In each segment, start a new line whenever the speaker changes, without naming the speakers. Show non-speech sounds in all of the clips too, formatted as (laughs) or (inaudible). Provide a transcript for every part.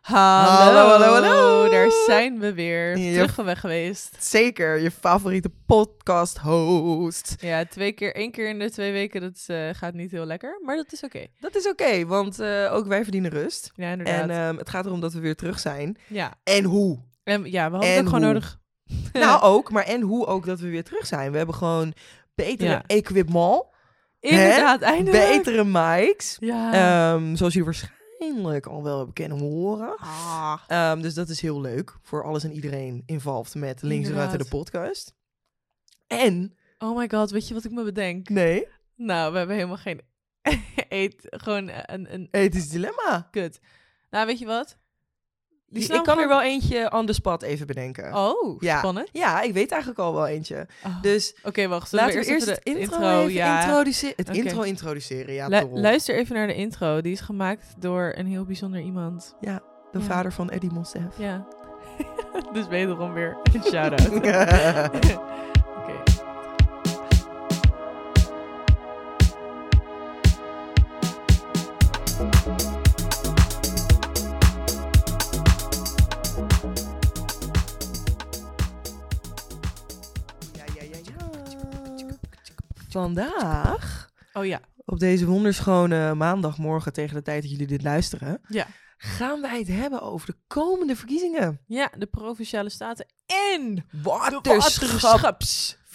Hallo, hallo, hallo.
Daar zijn we weer.
Ja.
Terug van weg geweest.
Zeker, je favoriete podcast host.
Ja, twee keer, één keer in de twee weken, dat eh, gaat niet heel lekker. Maar dat is oké.
Dat is oké, want eh, ook wij verdienen rust.
Ja, inderdaad.
En ehm, het gaat erom dat we weer terug zijn.
ja.
En (laughs) hoe?
En, ja, we hadden
en
het ook gewoon
hoe?
nodig.
nou, ook, maar en hoe ook dat we weer terug zijn. We hebben gewoon betere
Ja.
equipment,
Inderdaad, eindelijk.
betere mics.
Ja.
Ehm, zoals jullie waarschijnlijk al wel hebben kunnen horen.
Ah.
Ehm, dus dat is heel leuk voor alles en iedereen involved met Links en Ruiten de
Inderdaad.
podcast. En?
Oh my god, weet je wat ik me bedenk?
Nee.
Nou, we hebben helemaal geen (laughs) eet. Gewoon een, een
Ethisch dilemma.
kut. Nou, weet je wat? Die
ik
snap
kan
ik
er
wel-
wel eentje on the spot even bedenken.
Oh,
Ja.
spannend.
Ja, ik weet eigenlijk al wel eentje.
Oh.
Dus
Oké, wacht. zullen
laten we eerst het
even de
intro, even
ja.
introduceren. Het
Oké.
intro introduceren, ja.
Lu-
Torrel.
luister even naar de intro. Die is gemaakt door een heel bijzonder iemand.
de
ja.
vader van Eddie Monsef.
Ja. (laughs) dus wederom weer een
(laughs)
shout-out. Oké.
Ja, ja, ja, ja. Vandaag,
Oh ja.
op deze wonderschone maandagmorgen tegen de tijd dat jullie dit luisteren...
Ja.
gaan wij het hebben over de komende verkiezingen.
Ja, de Provinciale Staten en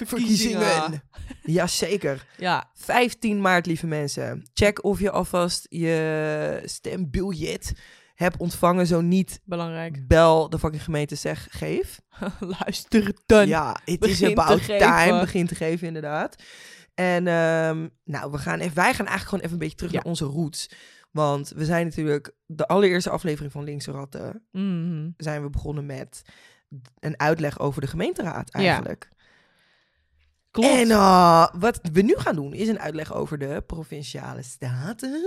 Verkiezingen. Jazeker.
Ja.
15 maart, lieve mensen. Check of je alvast je stembiljet hebt ontvangen. Zo niet,
Belangrijk. (laughs)
bel de fucking gemeente, zeg geef.
Luister dan.
ja, it is
begin te
about time.
geven.
Begin te geven, inderdaad. En ehm, nou, we gaan even, wij gaan eigenlijk gewoon even een beetje terug
Ja.
naar onze roots. Want we zijn natuurlijk de allereerste aflevering van Linkse Ratten
Mhm.
zijn we begonnen met een uitleg over de gemeenteraad
Ja,
eigenlijk.
Klopt.
En ah, wat we nu gaan doen is een uitleg over de provinciale staten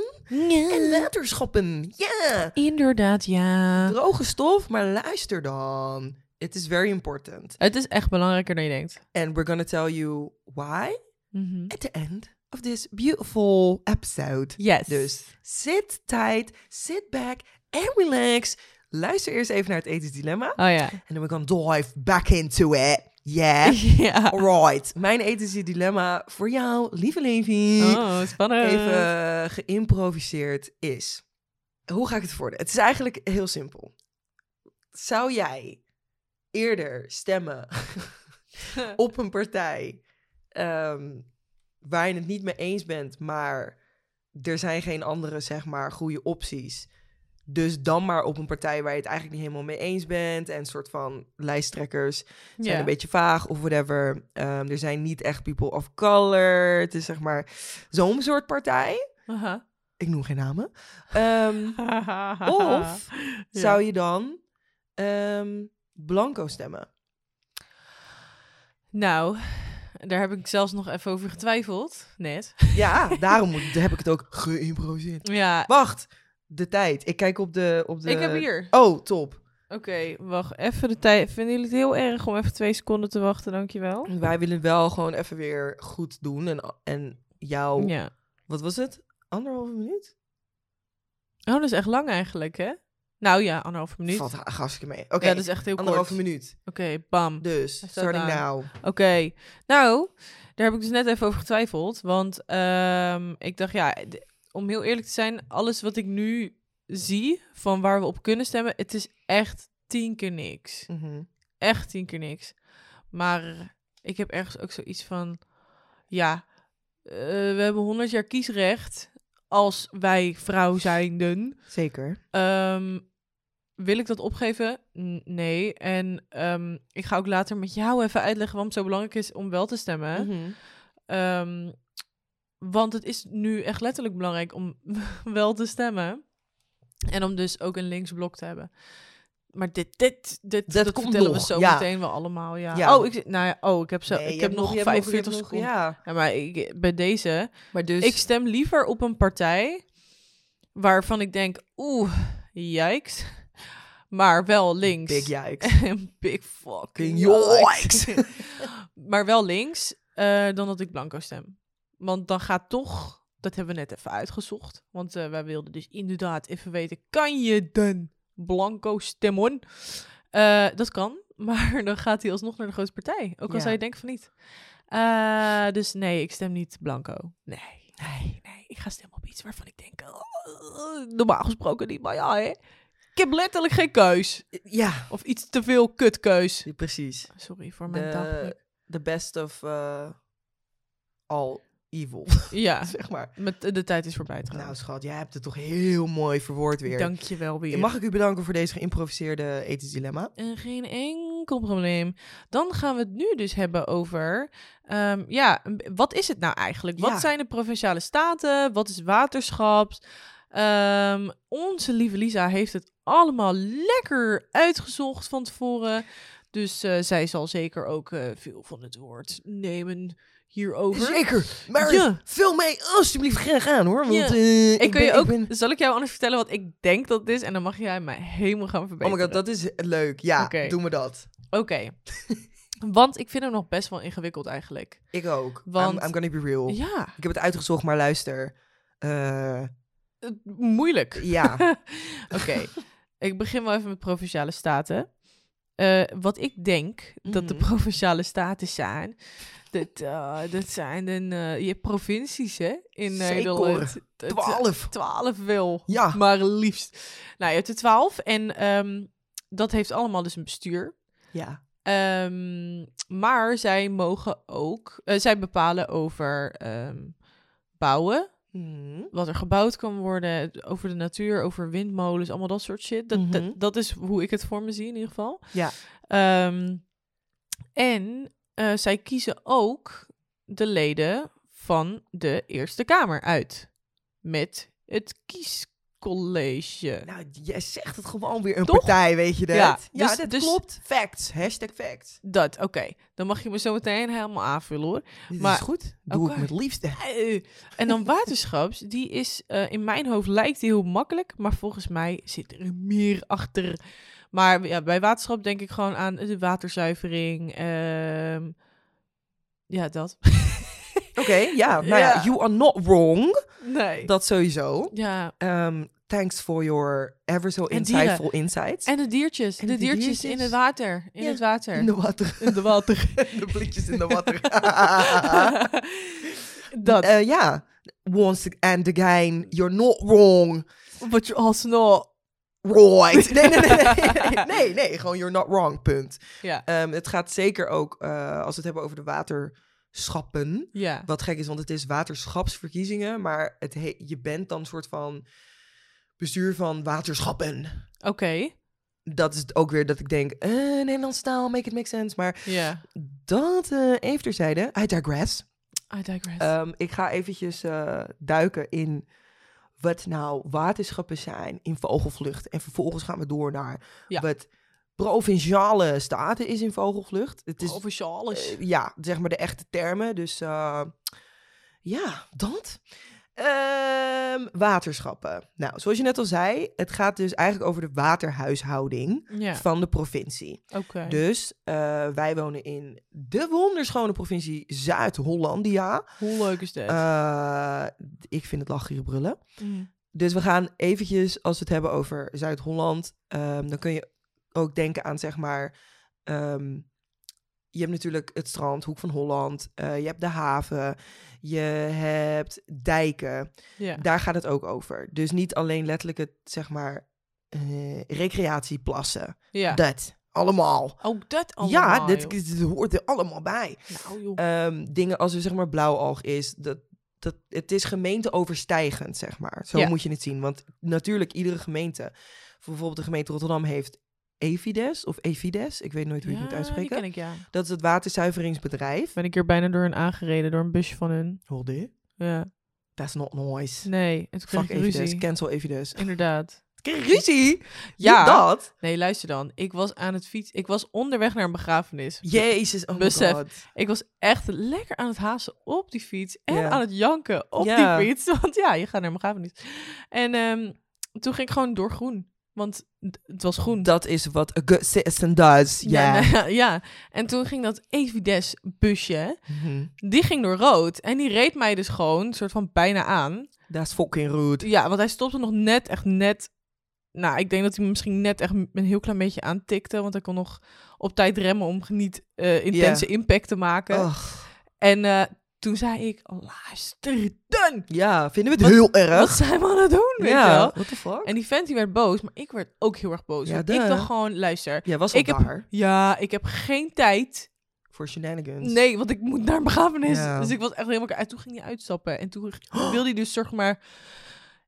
en waterschappen. Ja,
Inderdaad, ja.
droge stof, maar luister dan. It is very important.
Het is echt belangrijker dan je denkt.
And we're gonna tell you why
Mhm.
at the end of this beautiful episode.
Yes.
Dus sit tight, sit back and relax. Luister eerst even naar het ethisch dilemma.
Oh ja.
En then we're gonna dive back into it. Yeah.
(laughs) ja.
Alright. Mijn ethische dilemma voor jou, lieve Levi,
Oh, spannend. (laughs)
even geïmproviseerd is. Hoe ga ik het voordoen? Het is eigenlijk heel simpel. Zou jij eerder stemmen op een partij ehm, waar je het niet mee eens bent, maar er zijn geen andere, zeg maar, goede opties. Dus dan maar op een partij waar je het eigenlijk niet helemaal mee eens bent. En soort van lijsttrekkers zijn
Ja.
een beetje vaag of whatever. Ehm, er zijn niet echt people of color. Het is zeg maar zo'n soort partij.
Aha.
Ik noem geen namen.
(laughs)
Ehm, (laughs) of
Ja.
zou je dan ehm, blanco stemmen?
Nou, daar heb ik zelfs nog even over getwijfeld. Net.
Ja, daarom moet- heb ik het ook
(laughs)
geïmproviseerd.
Ja.
Wacht, de tijd. Ik kijk op de... Op de...
Ik heb hier.
Oh, top.
Oké, wacht even de tijd. Vinden jullie het heel erg om even twee seconden te wachten? Dankjewel.
Wij willen wel gewoon even weer goed doen. En, en jou...
Ja.
Wat was het? Anderhalve minuut?
Oh, dat is echt lang eigenlijk, hè? Nou ja, anderhalve minuut.
Valt ha- hartstikke mee. Oké,
Ja, dat is echt heel kort.
anderhalve
Oké,
minuut.
bam.
Dus,
Hij staat
starting
aan.
now.
Oké, nou, daar heb ik dus net even over getwijfeld. Want ehm, ik dacht, ja, d- om heel eerlijk te zijn, alles wat ik nu zie van waar we op kunnen stemmen, het is echt tien keer niks.
Mhm.
echt tien keer niks. Maar ik heb ergens ook zoiets van, ja, eh, we hebben 100 jaar kiesrecht als wij vrouw zijnden.
Zeker.
Ehm, wil ik dat opgeven? N- nee. En ehm, ik ga ook later met jou even uitleggen waarom het zo belangrijk is om wel te stemmen.
Mhm.
Ehm, want het is nu echt letterlijk belangrijk om (laughs) wel te stemmen. En om dus ook een linksblok te hebben. Maar dit, dit, dit
Dat
dat,
komt
vertellen
nog,
we zo
ja.
meteen wel allemaal. Ja.
Ja.
Oh, ik, zit- nou ja, oh, ik heb, zo,
Nee,
ik
je
heb
hebt
nog
je hebt
45
je hebt nog-
seconden.
ja,
Ja, maar ik, bij deze.
maar dus...
Ik stem liever op een partij waarvan ik denk, oeh, yikes. Maar wel links.
Big yikes.
(laughs) Big fucking
Big yikes.
(laughs) maar wel links eh, dan dat ik blanco stem. Want dan gaat toch, dat hebben we net even uitgezocht. Want eh, wij wilden dus inderdaad even weten, kan je dan blanco stemmen. Eh, dat kan, (laughs) maar dan gaat hij alsnog naar de grootste partij. Ook al
Ja.
zou je denken van niet. Eh, dus nee, ik stem niet blanco. Nee, nee, nee. Ik ga stemmen op iets waarvan ik denk, oh, normaal gesproken niet, maar ja hè. Ik heb letterlijk geen keus.
Ja,
Of iets te veel kutkeus.
precies.
Sorry voor mijn taal.
De, de best of eh, all evil,
Ja,
(laughs) zeg maar.
met, de tijd is voorbij
Nou
trouwens.
schat, jij hebt het toch heel mooi verwoord weer.
Dank je wel weer.
Mag ik u bedanken voor deze geïmproviseerde ethisch dilemma?
Eh, geen enkel probleem. Dan gaan we het nu dus hebben over. ehm, ja, een b- wat is het nou eigenlijk? Wat
Ja.
zijn de provinciale staten? Wat is waterschap? Ehm, onze lieve Lisa heeft het allemaal lekker uitgezocht van tevoren. Dus eh, zij zal zeker ook eh, veel van het woord nemen hierover.
Zeker, maar
Ja.
vul mij alsjeblieft graag aan hoor. Want,
Ja.
(laughs) eh, ik,
Ik, kun
ben,
je
ik
ook,
ben-
Zal ik jou anders vertellen wat ik denk dat het is? En dan mag jij mij helemaal gaan verbeteren.
Oh my god, dat is leuk. Ja,
Oké.
doen we dat.
Oké. (laughs) Want ik vind hem nog best wel ingewikkeld eigenlijk.
Ik ook.
Want-
I'm, I'm gonna be real.
Ja,
Ik heb het uitgezocht, maar luister.
(laughs)
Eh,
eh, moeilijk.
(laughs) ja,
Oké, ik begin wel even met provinciale staten. Eh, wat ik denk dat de
Mhm.
provinciale staten zijn, dat, eh, dat zijn een, eh, je hebt provincies hè, in
Zeker.
Nederland. Dat-
twaalf.
Twaalf wel.
Ja.
Maar liefst. Nou, je hebt de twaalf en ehm, dat heeft allemaal dus een bestuur.
Ja.
Ehm, maar zij mogen ook, eh, zij bepalen over ehm, bouwen,
Hmm.
wat er gebouwd kan worden, over de natuur, over windmolens, allemaal dat soort shit. Dat,
Mhm.
dat, dat is hoe ik het voor me zie in ieder geval.
Ja.
Ehm, en eh, zij kiezen ook de leden van de Eerste Kamer uit. Met het kiescollege.
Nou, jij zegt het gewoon weer een
Toch?
partij, weet je dat?
Ja,
Ja,
dus-
dat
dus-
klopt. Facts. Hashtag facts.
Dat, oké. Dan mag je me zo meteen helemaal aanvullen hoor.
Dit
Maar-
is goed. Doe
Oké.
ik met liefde.
Eh, En dan waterschaps, die is eh, in mijn hoofd lijkt die heel makkelijk, maar volgens mij zit er meer achter. Maar ja, bij waterschap denk ik gewoon aan de waterzuivering. ehm, ja, dat.
(laughs)
(laughs)
Oké, ja. Nou ja.
Ja.
you are not wrong.
Nee.
Dat sowieso.
Ja,
Ehm, thanks for your ever so
En dieren.
insightful insights.
en de diertjes.
En
de
de
diertjes, in
diertjes.
het water. In
Ja,
het water.
in de water.
In de water.
(laughs)
(laughs)
de blikjes in de (laughs) water.
dat.
Eh, ja. Once and again, you're not wrong.
Wat je alsnog...
Right. (laughs) Nee, nee, nee, nee. (laughs) Nee, nee, gewoon you're not wrong, punt.
Ja.
Ehm, het gaat zeker ook, eh, als we het hebben over de waterschappen.
Ja.
Wat gek is, want het is waterschapsverkiezingen, maar het he- je bent dan soort van bestuur van waterschappen.
Oké.
Dat is het ook weer dat ik denk, eh Nederlands taal, make it make sense. Maar
Ja.
dat eh even terzijde, I digress.
I digress.
Ehm, ik ga eventjes eh, duiken in wat nou waterschappen zijn in vogelvlucht. En vervolgens gaan we door naar
Ja.
wat provinciale staten is in vogelvlucht. Het is,
Officieel alles.
eh, ja, zeg maar de echte termen. Dus eh, ja, dat. Ehm, waterschappen. Nou, zoals je net al zei, het gaat dus eigenlijk over de waterhuishouding
ja.
van de provincie.
Oké.
Dus eh, wij wonen in de wonderschone provincie Zuid-Hollandia.
Hoe leuk is dit?
Eh, ik vind het lachen hier brullen.
Mm.
Dus we gaan eventjes, als we het hebben over Zuid-Holland, ehm, dan kun je ook denken aan zeg maar. ehm, je hebt natuurlijk het strand, Hoek van Holland. eh, je hebt de haven. Je hebt dijken.
Ja.
Daar gaat het ook over. Dus niet alleen letterlijk het, zeg maar, eh, recreatieplassen.
Ja.
Dat. Allemaal.
Ook dat allemaal.
Ja, dit,
joh.
dit hoort er allemaal bij.
Nou, joh.
Ehm, dingen als er zeg maar blauwalg is, dat, dat, het is gemeenteoverstijgend, zeg maar. Zo
Ja.
moet je het zien. Want natuurlijk, iedere gemeente, bijvoorbeeld de gemeente Rotterdam heeft Evides of Evides, ik weet nooit hoe je het moet
Die ken
uitspreken.
ik, ja.
Dat is het waterzuiveringsbedrijf.
Ben ik hier bijna door een aangereden, door een busje van hun.
Hold it.
Ja.
That's not
(laughs)
noise.
Nee, het kreeg
Fuck
ik ruzie.
Evides, cancel Evides.
Inderdaad.
Krijg je ruzie?
Ja.
Ja. Dat?
Nee, luister dan. Ik was aan het fiets. Ik was onderweg naar een begrafenis.
Jezus, oh my
Besef.
god.
Ik was echt lekker aan het hazen op die fiets. En
Ja.
aan het janken op
Ja.
die fiets. (laughs) Want ja, je gaat naar een begrafenis. En ehm, toen ging ik gewoon door groen. Want d- het was groen.
Dat is wat a good citizen does. Ja.
Ja, nou, (laughs) ja. En toen ging dat Evides busje.
Mhm.
Die ging door rood. En die reed mij dus gewoon, soort van bijna aan.
That's fucking rude.
Ja, want hij stopte nog net, echt net, nou, ik denk dat hij me misschien net echt een heel klein beetje aantikte. Want hij kon nog op tijd remmen om niet eh, intense impact te maken.
Ach,
En eh, toen zei ik, luister dan!
ja, vinden we het
Wat-
heel erg.
Wat zijn we aan het doen, weet je
ja,
wel?
what the fuck?
En die vent die werd boos, maar ik werd ook heel erg boos.
Ja,
want
duh.
ik dacht gewoon, luister,
ja, was al
ik heb-
daar
ja, ik heb geen tijd.
voor shenanigans.
Nee, want ik moet naar een begrafenis.
Ja.
Dus ik was echt helemaal... klaar. En toen ging hij uitstappen. En
(gasps)
toen wilde hij dus, zeg maar,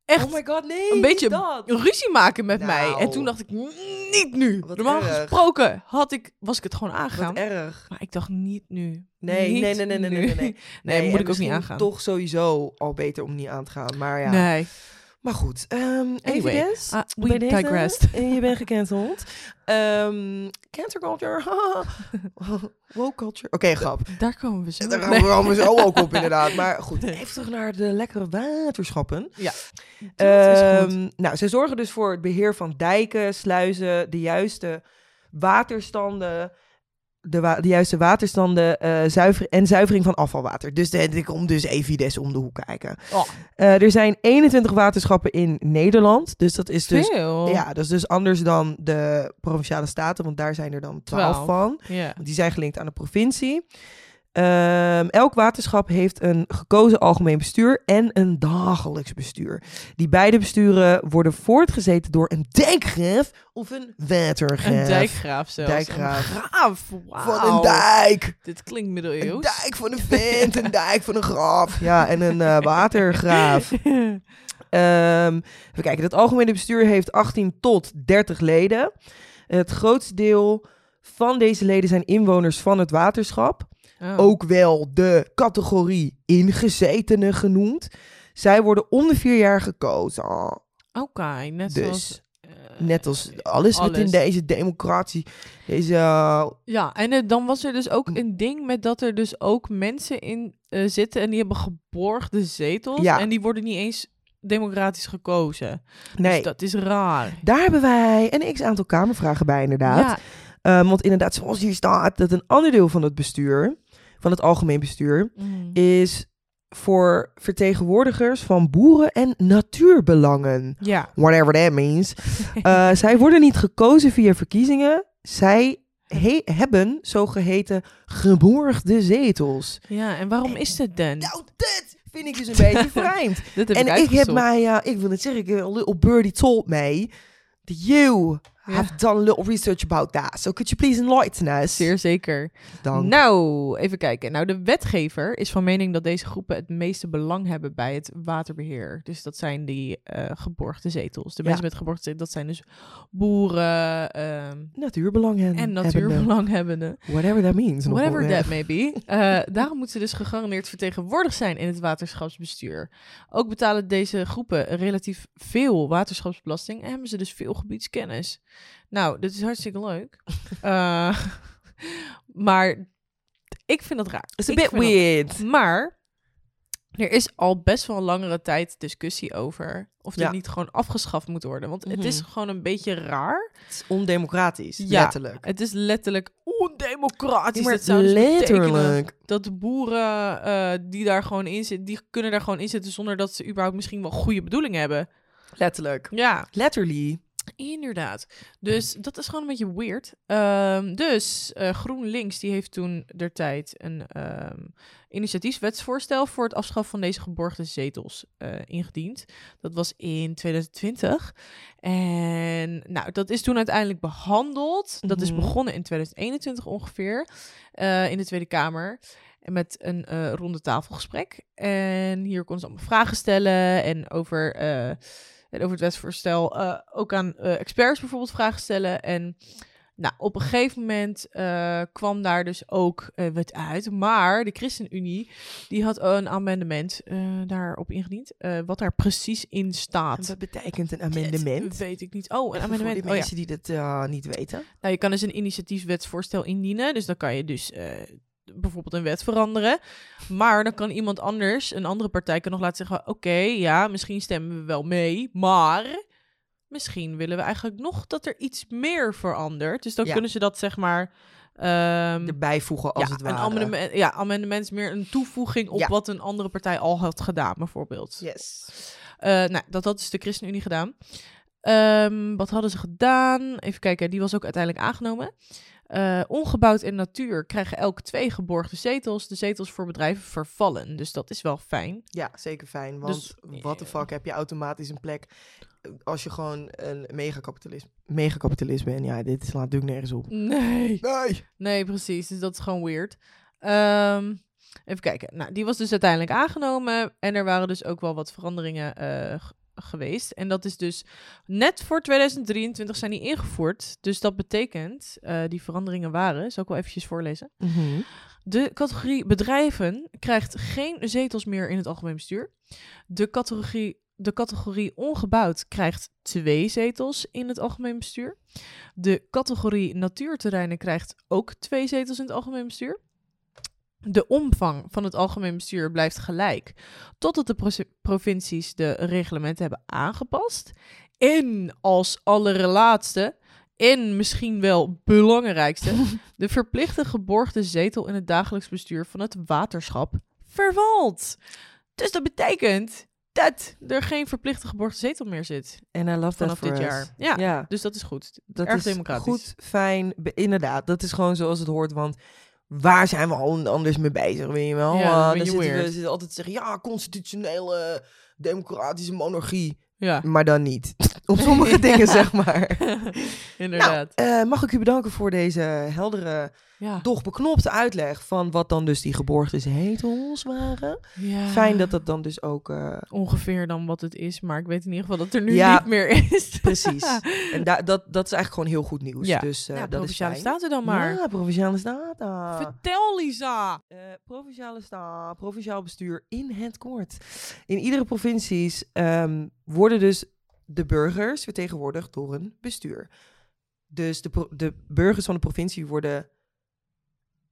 echt
Oh my god, nee.
een beetje
niet dat.
ruzie maken met mij.
Nou.
En toen dacht ik, "Mm, niet nu.
Wat
Normaal
erg.
gesproken had ik, was ik het gewoon aangegaan.
Wat erg.
Maar ik dacht, niet nu.
Nee,
Niet
nee, nee, nee, nee, nee,
nu.
nee, nee.
(laughs) Nee, moet
en
ik ook niet
misschien
aangaan.
Toch sowieso al beter om niet aan te gaan. Maar ja.
Nee.
Maar goed, ehm
Anyway,
evidence.
Ah, we
Bij deze,
digressed.
eh, (laughs) Je bent gecanceld. Ehm cancer
(laughs)
culture. Woke culture. Oké, grap.
Daar komen we zo.
(laughs) Daar
Nee.
gaan we allemaal zo ook op inderdaad.
(laughs)
Maar goed, even terug naar de lekkere waterschappen.
Dat is goed.
Ehm, nou, ze zorgen dus voor het beheer van dijken, sluizen, de juiste waterstanden, de, wa- de juiste waterstanden eh, zuiver en zuivering van afvalwater. Dus de, ik kom dus Evides om de hoek kijken.
Oh.
Eh, er zijn 21 waterschappen in Nederland, dus dat is dus...
Veel.
Ja, dat is dus anders dan de provinciale staten, want daar zijn er dan 12
Twaalf.
van.
Ja.
Want die zijn gelinkt aan de provincie. Ehm, elk waterschap heeft een gekozen algemeen bestuur en een dagelijks bestuur. Die beide besturen worden voortgezeten door een dijkgraaf of een watergraaf.
Een dijkgraaf zelfs.
Dijkgraaf.
Een graaf.
Van een
Wauw.
dijk.
Dit klinkt
Een
middeleeuws.
dijk
(laughs)
van een vent, een dijk van een graaf. Ja, en een eh, watergraaf. Ehm even kijken, het algemene bestuur heeft 18 tot 30 leden. Het grootste deel van deze leden zijn inwoners van het waterschap.
(laughs) Oh.
ook wel de categorie ingezetenen genoemd. Zij worden om de vier jaar gekozen. Ah,
Oké, net
Dus,
zoals... eh,
net als alles, wat in
alles.
deze democratie, deze... eh,
Ja, en eh, dan was er dus
Hm.
ook een ding met dat er dus ook mensen in eh, zitten en die hebben geborgde zetels.
Ja.
En die worden niet eens democratisch gekozen.
nee,
Dus dat is raar.
daar hebben wij een x-aantal kamervragen bij inderdaad.
Ja,
Ehm, want inderdaad, zoals hier staat, dat een ander deel van het bestuur, van het algemeen bestuur,
mm.
is voor vertegenwoordigers van boeren en natuurbelangen.
ja.
Whatever that means. Eh, (laughs) zij worden niet gekozen via verkiezingen. Zij he- hebben zogeheten geborgde zetels.
ja, en waarom is dit dan?
Nou, dat vind ik dus een
(laughs)
beetje vreemd.
Dit heb
en
ik
ik, heb
uitgezocht.
mij, ja, ik wil het zeggen, ik heb een little birdie told me that you
Ja.
have done a little research about that. So could you please enlighten us?
Zeer zeker.
Dank.
Nou, even kijken. Nou, de wetgever is van mening dat deze groepen het meeste belang hebben bij het waterbeheer. Dus dat zijn die eh, geborgde zetels. De
Ja.
mensen met geborgde zetels, dat zijn dus boeren ehm,
natuurbelangen.
en
hebbende.
natuurbelanghebbenden.
Whatever that means. nog
Whatever
wel, ja.
that may be. Eh, (laughs) daarom moeten ze dus gegarandeerd vertegenwoordigd zijn in het waterschapsbestuur. Ook betalen deze groepen relatief veel waterschapsbelasting en hebben ze dus veel gebiedskennis. Nou, dat is hartstikke
(laughs)
leuk. Eh, maar ik vind dat raar.
It's a
Ik
bit
vind dat-
weird.
Maar er is al best wel langere tijd discussie over of dit
Ja. Mhm.
niet gewoon afgeschaft moet worden. Want het is gewoon een beetje raar.
Het is ondemocratisch,
Ja.
letterlijk.
Het is letterlijk ondemocratisch.
Nee, maar
dat zou dus betekenen
letterlijk.
dat de boeren eh, die daar gewoon in zitten, die kunnen daar gewoon in zitten zonder dat ze überhaupt misschien wel goede bedoelingen hebben.
Letterlijk.
Ja,
Letterly.
inderdaad. Dus dat is gewoon een beetje weird. Ehm, dus eh, GroenLinks die heeft toen der tijd een ehm, initiatiefwetsvoorstel voor het afschaffen van deze geborgde zetels eh, ingediend. Dat was in 2020. En nou, dat is toen uiteindelijk behandeld. Dat is
Mhm.
begonnen in 2021 ongeveer eh, in de Tweede Kamer. En met een eh ronde tafelgesprek. En hier konden ze allemaal vragen stellen. En over, eh, en over het wetsvoorstel eh, ook aan eh, experts bijvoorbeeld vragen stellen. En nou, op een gegeven moment eh, kwam daar dus ook eh, wat uit. Maar de ChristenUnie die had een amendement eh, daarop ingediend. eh, wat daar precies in
En
staat.
Wat betekent een
Dat
amendement?
weet ik niet. Oh, een
Even Voor
amendement.
die
Oh, ja.
mensen die dat eh, niet weten.
Nou, je kan dus een initiatiefwetsvoorstel indienen. Dus dan kan je dus eh, bijvoorbeeld een wet veranderen. Maar dan kan iemand anders, een andere partij, kan nog laten zeggen: Oké, ja, misschien stemmen we wel mee. Maar misschien willen we eigenlijk nog dat er iets meer verandert. Dus dan
Ja.
kunnen ze dat zeg maar. ehm,
Erbij voegen als
ja,
het
een
ware.
amendement, ja, amendement is meer een toevoeging op
Ja.
wat een andere partij al had gedaan, bijvoorbeeld.
Yes.
Eh, nou, dat had dus de ChristenUnie gedaan. Ehm, wat hadden ze gedaan? Even kijken, die was ook uiteindelijk aangenomen. Eh, ongebouwd en natuur krijgen elk twee geborgde zetels. De zetels voor bedrijven vervallen. Dus dat is wel fijn.
Ja, zeker fijn. Want
Dus,
wat de
eh,
fuck heb je automatisch een plek als je gewoon een megakapitalist, megakapitalist bent? Ja, dit slaat natuurlijk nergens op.
Nee.
Nee!
Nee, precies. Dus dat is gewoon weird. Ehm, even kijken. Nou, die was dus uiteindelijk aangenomen. En er waren dus ook wel wat veranderingen eh, g- geweest. En dat is dus net voor 2023 zijn die ingevoerd. Dus dat betekent, eh, die veranderingen waren, zal ik wel eventjes voorlezen.
Mhm.
De categorie bedrijven krijgt geen zetels meer in het algemeen bestuur. De categorie, de categorie ongebouwd krijgt twee zetels in het algemeen bestuur. De categorie natuurterreinen krijgt ook twee zetels in het algemeen bestuur. De omvang van het algemeen bestuur blijft gelijk, totdat de proce- provincies de reglementen hebben aangepast. En als allerlaatste, en misschien wel belangrijkste, de verplichte geborgde zetel in het dagelijks bestuur van het waterschap vervalt. Dus dat betekent dat er geen verplichte geborgde zetel meer zit
En I love
vanaf dit jaar. Ja,
Ja,
dus dat is goed.
dat
Erg
is
democratisch.
goed, fijn. be- Inderdaad, dat is gewoon zoals het hoort. Want waar zijn we al anders mee bezig, weet je wel?
Ja, dan
Eh,
ben
dan
je
zitten we
weird.
zitten altijd te zeggen, ja, constitutionele democratische monarchie.
Ja, (laughs)
Maar dan niet. (laughs) Op sommige dingen, zeg maar. Nou,
inderdaad.
Eh, mag ik u bedanken voor deze heldere,
ja.
toch beknopte uitleg van wat dan dus die geborgde zetels waren.
Ja.
Fijn dat dat dan dus ook... eh,
Ongeveer dan wat het is, maar ik weet in ieder geval dat het er nu
Ja.
niet meer is. (laughs)
precies. (laughs) en da- dat, dat is eigenlijk gewoon heel goed nieuws.
Ja.
Dus eh,
ja,
dat is
provinciale
fijn.
staten dan maar.
Ja, Provinciale Staten.
Vertel, Lisa.
Eh, provinciale staat, provinciaal bestuur in het kort. In iedere provincie ehm, worden dus de burgers vertegenwoordigd door een bestuur. Dus de, pro- de burgers van de provincie worden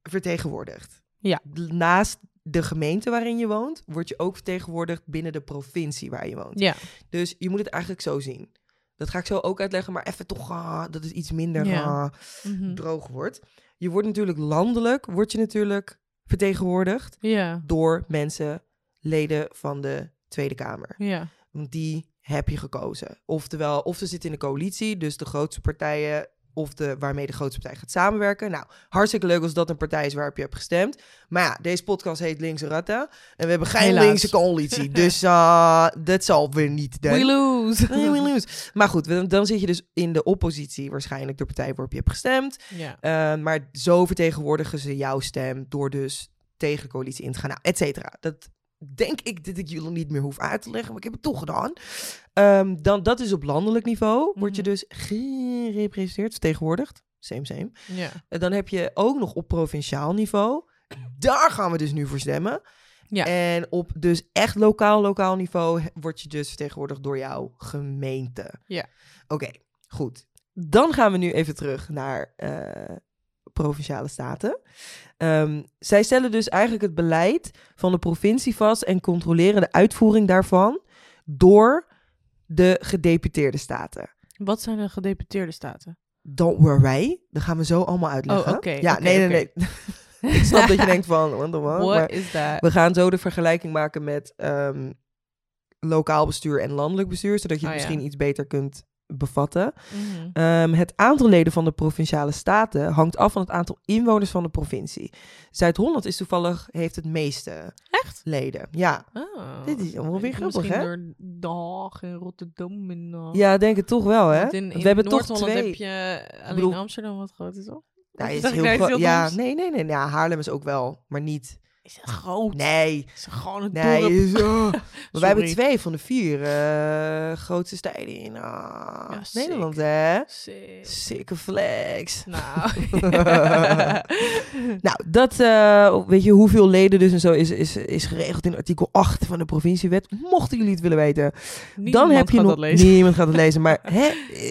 vertegenwoordigd.
Ja.
Naast de gemeente waarin je woont, word je ook vertegenwoordigd binnen de provincie waar je woont.
Ja,
Dus je moet het eigenlijk zo zien. Dat ga ik zo ook uitleggen, maar even toch, ah, dat is iets minder
Ja.
ah,
mhm.
droog wordt. Je wordt natuurlijk landelijk, word je natuurlijk vertegenwoordigd
ja,
door mensen, leden van de Tweede Kamer.
ja,
Want die heb je gekozen. Oftewel, of ze zitten in de coalitie, dus de grootste partijen, of de, waarmee de grootste partij gaat samenwerken. Nou, hartstikke leuk als dat een partij is waarop je hebt gestemd. Maar ja, deze podcast heet Linkse Ratten. En we hebben geen
Helaas.
linkse coalitie. dus eh, dat zal weer niet
We
de...
lose.
Nee, we lose. Maar goed, dan- dan zit je dus in de oppositie waarschijnlijk de partij waarop je hebt gestemd.
(laughs) ja.
Eh, maar zo vertegenwoordigen ze jouw stem door dus tegen de coalitie in te gaan, nou, et cetera. Dat denk ik dat ik jullie niet meer hoef uit te leggen, maar ik heb het toch gedaan. Ehm, dan, dat is op landelijk niveau, word je
Mhm.
dus gerepresenteerd, vertegenwoordigd. Same, same.
ja.
En Eh, dan heb je ook nog op provinciaal niveau. Daar gaan we dus nu voor stemmen.
Ja.
En op dus echt lokaal, lokaal niveau he- word je dus vertegenwoordigd door jouw gemeente.
Ja.
Oké, goed. Dan gaan we nu even terug naar eh, provinciale staten. Ehm, zij stellen dus eigenlijk het beleid van de provincie vast en controleren de uitvoering daarvan door de gedeputeerde staten.
Wat zijn de gedeputeerde staten?
Don't worry. Dat gaan we zo allemaal uitleggen.
Oh, oké,
Ja,
oké,
nee, nee,
oké.
nee. ik snap
(laughs)
dat je denkt van... What the fuck,
What
maar
is that?
we gaan zo de vergelijking maken met ehm, lokaal bestuur en landelijk bestuur... zodat je het
Oh, ja.
misschien iets beter kunt bevatten.
Mhm.
Ehm, het aantal leden van de provinciale staten hangt af van het aantal inwoners van de provincie. Zuid-Holland is toevallig, heeft het meeste
Echt?
leden. Ja,
Oh.
dit is allemaal weer
Ik-
grappig,
misschien
hè?
door Dag en Rotterdam en... eh,
Ja, ik denk het toch wel, hè?
want In, in
we hebben toch
Noord-Holland
twee...
heb je eh, alleen
bedoel-
Amsterdam wat groot is, toch? (laughs)
Ja,
Wat
is
zeg ik
heel
nou iets
gro-
heel
ja,
doms?
nee, nee, nee. Ja, Haarlem is ook wel, maar niet...
Is het groot?
Nee,
Is het gewoon een
Nee,
dorp?
is-
(laughs)
oh. maar
Sorry.
wij hebben twee van de vier eh, grootste steden in ah,
Ja, sick.
Nederland, hè? (laughs)
Sick.
Sikke
(laughs)
flex.
Nou.
(laughs) Nou, dat, eh, weet je, hoeveel leden dus en zo is, is, is geregeld in artikel 8 van de provinciewet. Mochten jullie het willen weten, dan heb je
gaat
nog...
dat lezen.
Niemand
(laughs)
gaat het lezen, maar hè,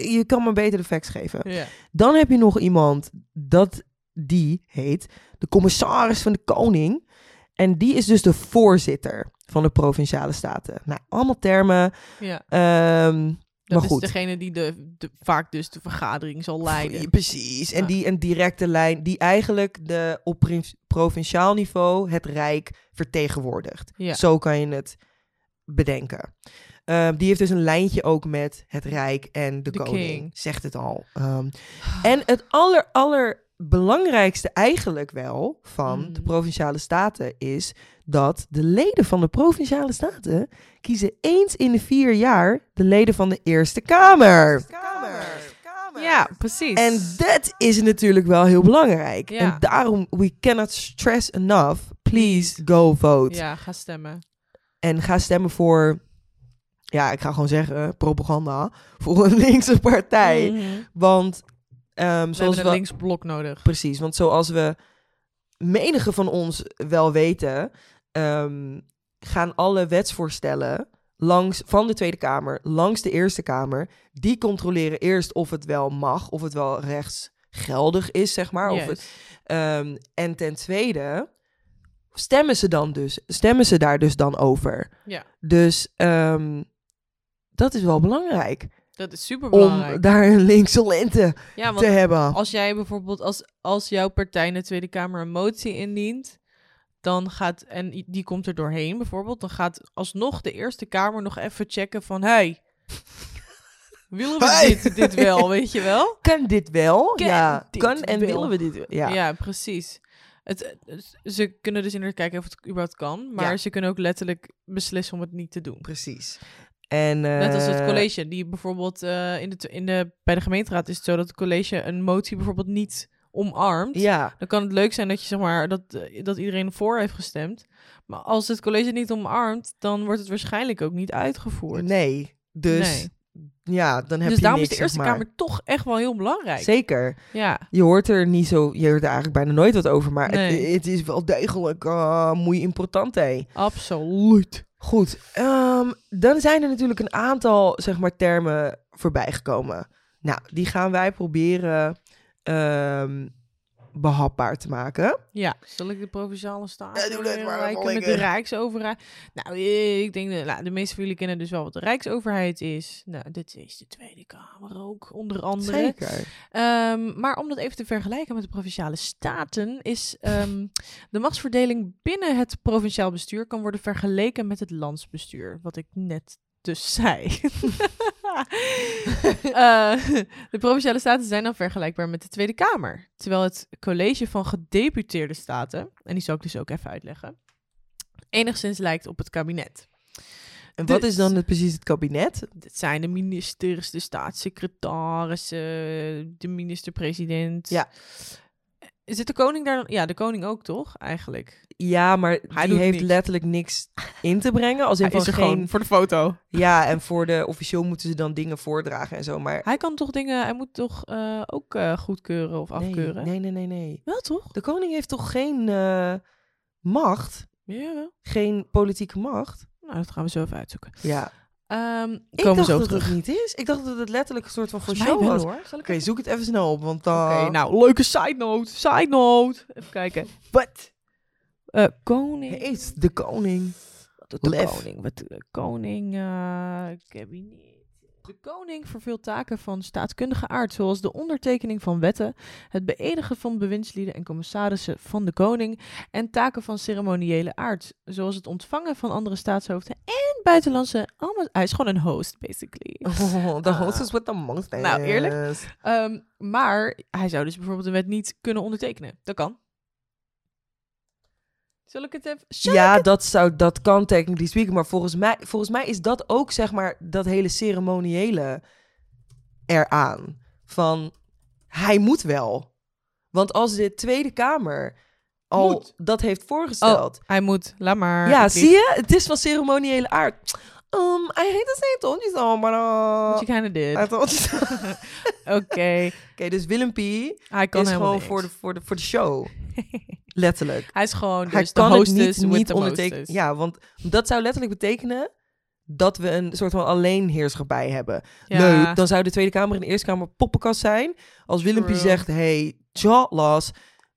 je kan maar beter de facts geven.
Ja.
Dan heb je nog iemand, dat die heet de commissaris van de koning. En die is dus de voorzitter van de provinciale staten. Nou, allemaal termen.
ja.
ehm,
Dat
Maar goed.
is degene die de, de, vaak dus de vergadering zal
ja,
leiden.
precies. En
Ja.
die een directe lijn die eigenlijk de, op prin- provinciaal niveau het Rijk vertegenwoordigt.
Ja.
Zo kan je het bedenken. Ehm, die heeft dus een lijntje ook met het Rijk en de,
De
koning.
king.
Zegt het al.
(sighs)
Ehm, en het aller, allerbelangrijkste eigenlijk wel van de
Mhm.
Provinciale Staten is dat de leden van de Provinciale Staten kiezen eens in de vier jaar de leden van de Eerste Kamer.
Ja, precies.
En dat is natuurlijk wel heel belangrijk.
Ja.
En daarom, we cannot stress enough. Please go vote.
Ja, ga stemmen.
En ga stemmen voor, ja, ik ga gewoon zeggen, propaganda. Voor een linkse partij.
Mhm.
Want, ehm,
We
zoals
hebben een
we,
links blok nodig.
precies, want zoals we menige van ons wel weten, ehm, gaan alle wetsvoorstellen langs, van de Tweede Kamer langs de Eerste Kamer. Die controleren eerst of het wel mag, of het wel rechtsgeldig is, zeg maar. Of
Juist.
het Ehm, en ten tweede, stemmen ze dan dus, stemmen ze daar dus dan over.
Ja.
Dus ehm, dat is wel belangrijk,
Dat is super belangrijk.
om daar een linkse lente
ja,
te
want
hebben.
als jij bijvoorbeeld, als, als jouw partij in de Tweede Kamer een motie indient, dan gaat, en i- die komt er doorheen bijvoorbeeld, dan gaat alsnog de Eerste Kamer nog even checken van,
(laughs)
hey, willen we
Hey!
dit, dit
(laughs)
wel, weet je wel?
Kan dit wel?
Kan
ja,
dit
kan en
wel?
willen we dit wel? Ja.
Ja, precies. Het, het- ze kunnen dus inderdaad kijken of het überhaupt kan, maar
Ja.
ze kunnen ook letterlijk beslissen om het niet te doen.
precies. En,
Net als het
eh,
college, die bijvoorbeeld eh, in de, in de, bij de gemeenteraad is het zo dat het college een motie bijvoorbeeld niet omarmt.
Ja,
Dan kan het leuk zijn dat je zeg maar dat, eh, dat iedereen voor heeft gestemd. Maar als het college het niet omarmt, dan wordt het waarschijnlijk ook niet uitgevoerd.
nee. Dus
Nee.
ja, dan heb
Dus
je
daarom
niks,
is de Eerste
zeg maar.
Kamer toch echt wel heel belangrijk.
Zeker.
Ja,
Je hoort er niet zo, je hoort er eigenlijk bijna nooit wat over, maar het,
Nee.
het is wel degelijk eh moei important, hè.
absoluut.
Goed, ehm, dan zijn er natuurlijk een aantal zeg maar, termen voorbijgekomen. Nou, die gaan wij proberen ehm, behapbaar te maken.
Ja, zal ik de provinciale staat
Ja, doe dat maar,
vergelijken met de
Malleke.
Rijksoverheid? Nou, eh, ik denk dat nou, de meeste van jullie kennen dus wel wat de Rijksoverheid is. Nou, dit is de Tweede Kamer ook, onder andere.
Zeker.
Ehm, maar om dat even te vergelijken met de provinciale staten, is ehm, de machtsverdeling binnen het provinciaal bestuur kan worden vergeleken met het landsbestuur. Wat ik net dus
(laughs)
zei. Eh, de provinciale staten zijn dan vergelijkbaar met de Tweede Kamer. Terwijl het college van gedeputeerde staten, en die zal ik dus ook even uitleggen, enigszins lijkt op het kabinet.
En
Dus-
wat is dan het, precies het kabinet?
Dat zijn de ministers, de staatssecretarissen, de minister-president.
Ja.
Zit de koning daar dan? Ja, de koning ook toch, eigenlijk?
Ja, maar
Hij
die
doet
heeft
niks.
letterlijk niks in te brengen. Als in
Hij
van
is er gewoon
geen.
voor de foto.
Ja, en voor de officieel moeten ze dan dingen voordragen en zo. Maar
Hij kan toch dingen, hij moet toch eh, ook eh, goedkeuren of
nee,
afkeuren?
nee, nee, nee, nee.
Wel toch?
De koning heeft toch geen eh, macht,
Ja, wel.
geen politieke macht.
Nou, dat gaan we zo even uitzoeken.
Ja.
Ehm,
Ik
komen we
dacht
zo
dat
terug.
het niet is. Ik dacht dat het letterlijk een soort van voor
Volgens mij
show
wel,
was. Ah. Oké,
hoor. Zal ik even-
zoek het even snel op, want dan...
Oké, nou, leuke side note. Side note. Even kijken.
Wat
Eh, koning.
heet de
(laughs)
koning? (laughs)
Tot de
Lef.
koning. Wat, eh, koning, eh, kabinet. De koning vervult taken van staatskundige aard, zoals de ondertekening van wetten, het beëdigen van bewindslieden en commissarissen van de koning en taken van ceremoniële aard, zoals het ontvangen van andere staatshoofden en buitenlandse... ambass- Hij is gewoon een host, basically.
(laughs) Oh, the
Ah.
host is with the most
Nou, eerlijk? Ehm, maar hij zou dus bijvoorbeeld een wet niet kunnen ondertekenen. Dat kan. Zal ik het even... Zal ik
Ja,
het-
dat, zou, dat kan technically speaking, maar volgens mij, volgens mij is dat ook, zeg maar, dat hele ceremoniële eraan. Van, hij moet wel. Want als de Tweede Kamer al
Moet.
dat heeft voorgesteld...
Hij moet, laat maar.
Oh. Ja,
ik lieg.
zie je? Het is van ceremoniële aard. Um, I hate to say it, told you so, maar... eh,
What you kinda did.
I told you so. Oké, (laughs)
(laughs) Oké,
dus Willem P
hij kan
is
helemaal
gewoon
niks.
voor de, voor, de, voor de
(laughs)
show. letterlijk.
Hij is gewoon dus
Hij
de
kan het
hostess
niet,
with
niet
the
ondertekenen.
mostest.
Ja, want dat zou letterlijk betekenen dat we een soort van alleenheerschappij hebben.
Ja.
Leuk, dan zou de Tweede Kamer en de Eerste Kamer poppenkast zijn. Als Willem P
True.
zegt, hey, Charles,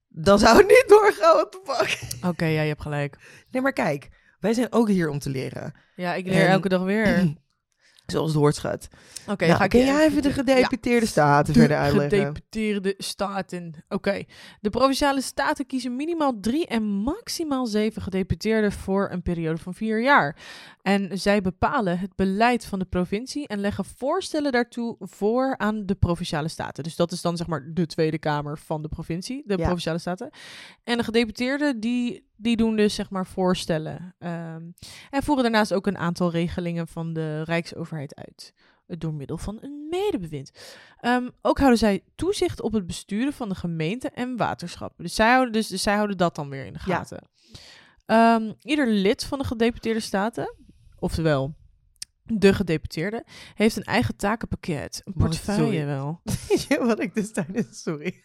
dan zou het niet doorgaan, what the fuck.
Oké, ja, je hebt gelijk.
Nee, maar kijk, wij zijn ook hier om te leren.
Ja, ik leer
En-
elke dag weer.
zoals het hoort gaat.
(clears throat) Oké,
nou,
ga ik
kun
je
jij even de gedeputeerde staten
De
verder uitleggen?
Gedeputeerde staten. Oké. De provinciale staten kiezen minimaal drie en maximaal zeven gedeputeerden voor een periode van vier jaar. En zij bepalen het beleid van de provincie en leggen voorstellen daartoe voor aan de provinciale staten. Dus dat is dan zeg maar de Tweede Kamer van de provincie, de
Ja.
provinciale staten. En de gedeputeerden die, die doen dus zeg maar voorstellen. ehm, en voeren daarnaast ook een aantal regelingen van de Rijksoverheid uit. eh, Door middel van een medebewind. Ehm, ook houden zij toezicht op het besturen van de gemeente en waterschappen. Dus zij houden, dus, dus zij houden dat dan weer in de
Ja.
gaten. Ehm, ieder lid van de gedeputeerde staten, oftewel de gedeputeerde, heeft een eigen takenpakket. Een
Wat,
portefeuille
sorry.
wel.
Weet je (laughs) wat ik dus tijdens... Sorry.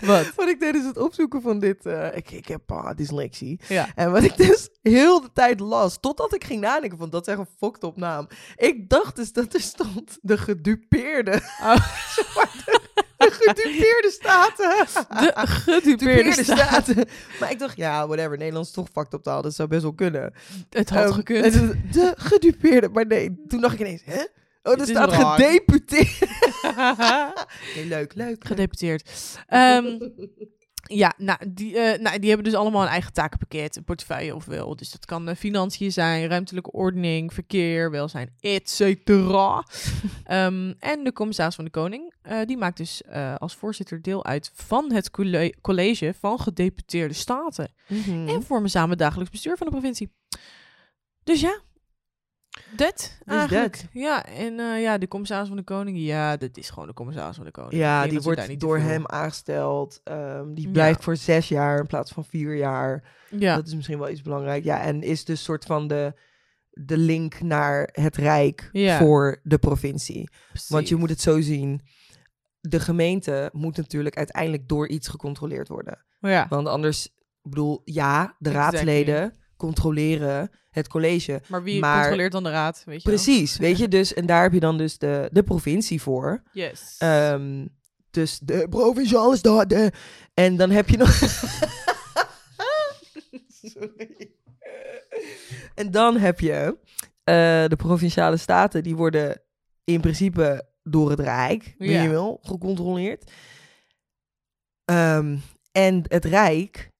Wat?
(laughs) wat ik tijdens het opzoeken van dit... eh, ik, ik heb ah, dyslexie.
Ja.
En wat ik dus heel de tijd las, totdat ik ging nadenken van dat is echt een fucked op naam. Ik dacht dus dat er stond de gedupeerde. (laughs)
Oh.
Zeg maar, de, de gedupeerde (laughs) staten.
De gedupeerde
gedupeerde
staten.
staten. Maar ik dacht, ja, whatever, Nederlands is toch fucked op taal, dat zou best wel kunnen.
Het had
Ehm,
gekund.
het- De gedupeerde, maar nee, toen dacht ik ineens, hè? Oh, er
Dit is
staat
raar.
gedeputeerd. Nee, leuk,
(laughs)
leuk.
gedeputeerd. Ehm, ja, nou die, eh, nou, die hebben dus allemaal een eigen takenpakket, een portefeuille of wel. Dus dat kan eh, financiën zijn, ruimtelijke ordening, verkeer, welzijn, et cetera.
(laughs)
Ehm, en de commissaris van de Koning, eh, die maakt dus eh, als voorzitter deel uit van het colle- college van gedeputeerde staten.
Mhm.
En vormen samen het dagelijks bestuur van de provincie. Dus ja, dat eigenlijk.
Dus dat.
Ja, en eh, ja, de commissaris van de Koning, ja, dat is gewoon de commissaris van de Koning. Ik denk
Ja,
dat
die
ze daar
wordt
niet te
door
veel-
hem aangesteld. ehm, die
Ja.
blijft voor zes jaar in plaats van vier jaar.
Ja.
Dat is misschien wel iets belangrijk. Ja, en is dus soort van de, de link naar het Rijk
Ja.
voor de provincie. Want
precies.
je moet het zo zien. De gemeente moet natuurlijk uiteindelijk door iets gecontroleerd worden.
Ja,
Want anders, ik bedoel, ja, de
Exactly.
raadsleden controleren het college.
maar wie
maar-
controleert dan de raad? Weet je wel?
Precies, weet je dus. En daar heb je dan dus de, de provincie voor.
Yes.
Ehm, dus de provinciale staten. En dan heb je nog.
(laughs)
Sorry. En dan heb je eh, de provinciale staten, die worden in principe door het Rijk, weet
Ja.
je wel, gecontroleerd. Ehm, en het Rijk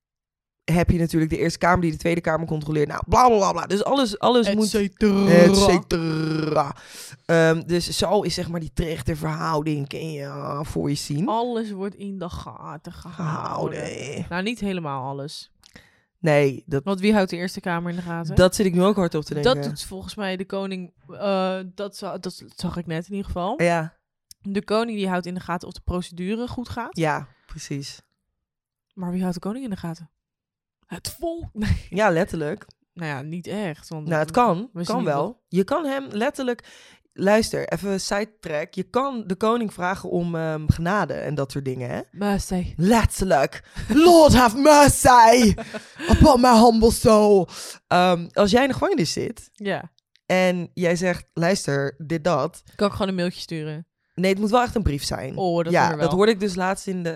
heb je natuurlijk de Eerste Kamer die de Tweede Kamer controleert. Nou, bla bla bla. bla. Dus alles, alles
Et
moet
cetera.
et cetera. Ehm, dus zo is zeg maar die trechterverhouding ken je ah, voor je zien.
Alles wordt in de gaten Oh, gehouden.
Gehouden.
Nou, niet helemaal alles.
Nee, dat,
Want wie houdt de Eerste Kamer in de gaten?
dat zit ik nu ook hard op te denken.
Dat doet volgens mij de koning. eh, dat, za- dat zag ik net in ieder geval.
Ja,
De koning die houdt in de gaten of de procedure goed gaat.
ja, precies.
Maar wie houdt de koning in de gaten? Het volk. (laughs) Nee.
Ja, letterlijk.
Nou ja, niet echt. Want
Nou, het kan.
we zien
Kan
niet
wel.
wat-
Je kan hem letterlijk... Luister, even een sidetrack. Je kan de koning vragen om ehm, genade en dat soort dingen, hè?
Maar zij.
Letterlijk.
(laughs)
Lord have mercy upon my humble soul. Ehm, als jij in de gevangenis zit
Ja.
en jij zegt... Luister, dit, dat...
Kan ik gewoon een mailtje sturen?
Nee, het moet wel echt een brief zijn.
Oh, dat
ja,
doen we wel. Ah,
dat hoorde ik dus laatst in de,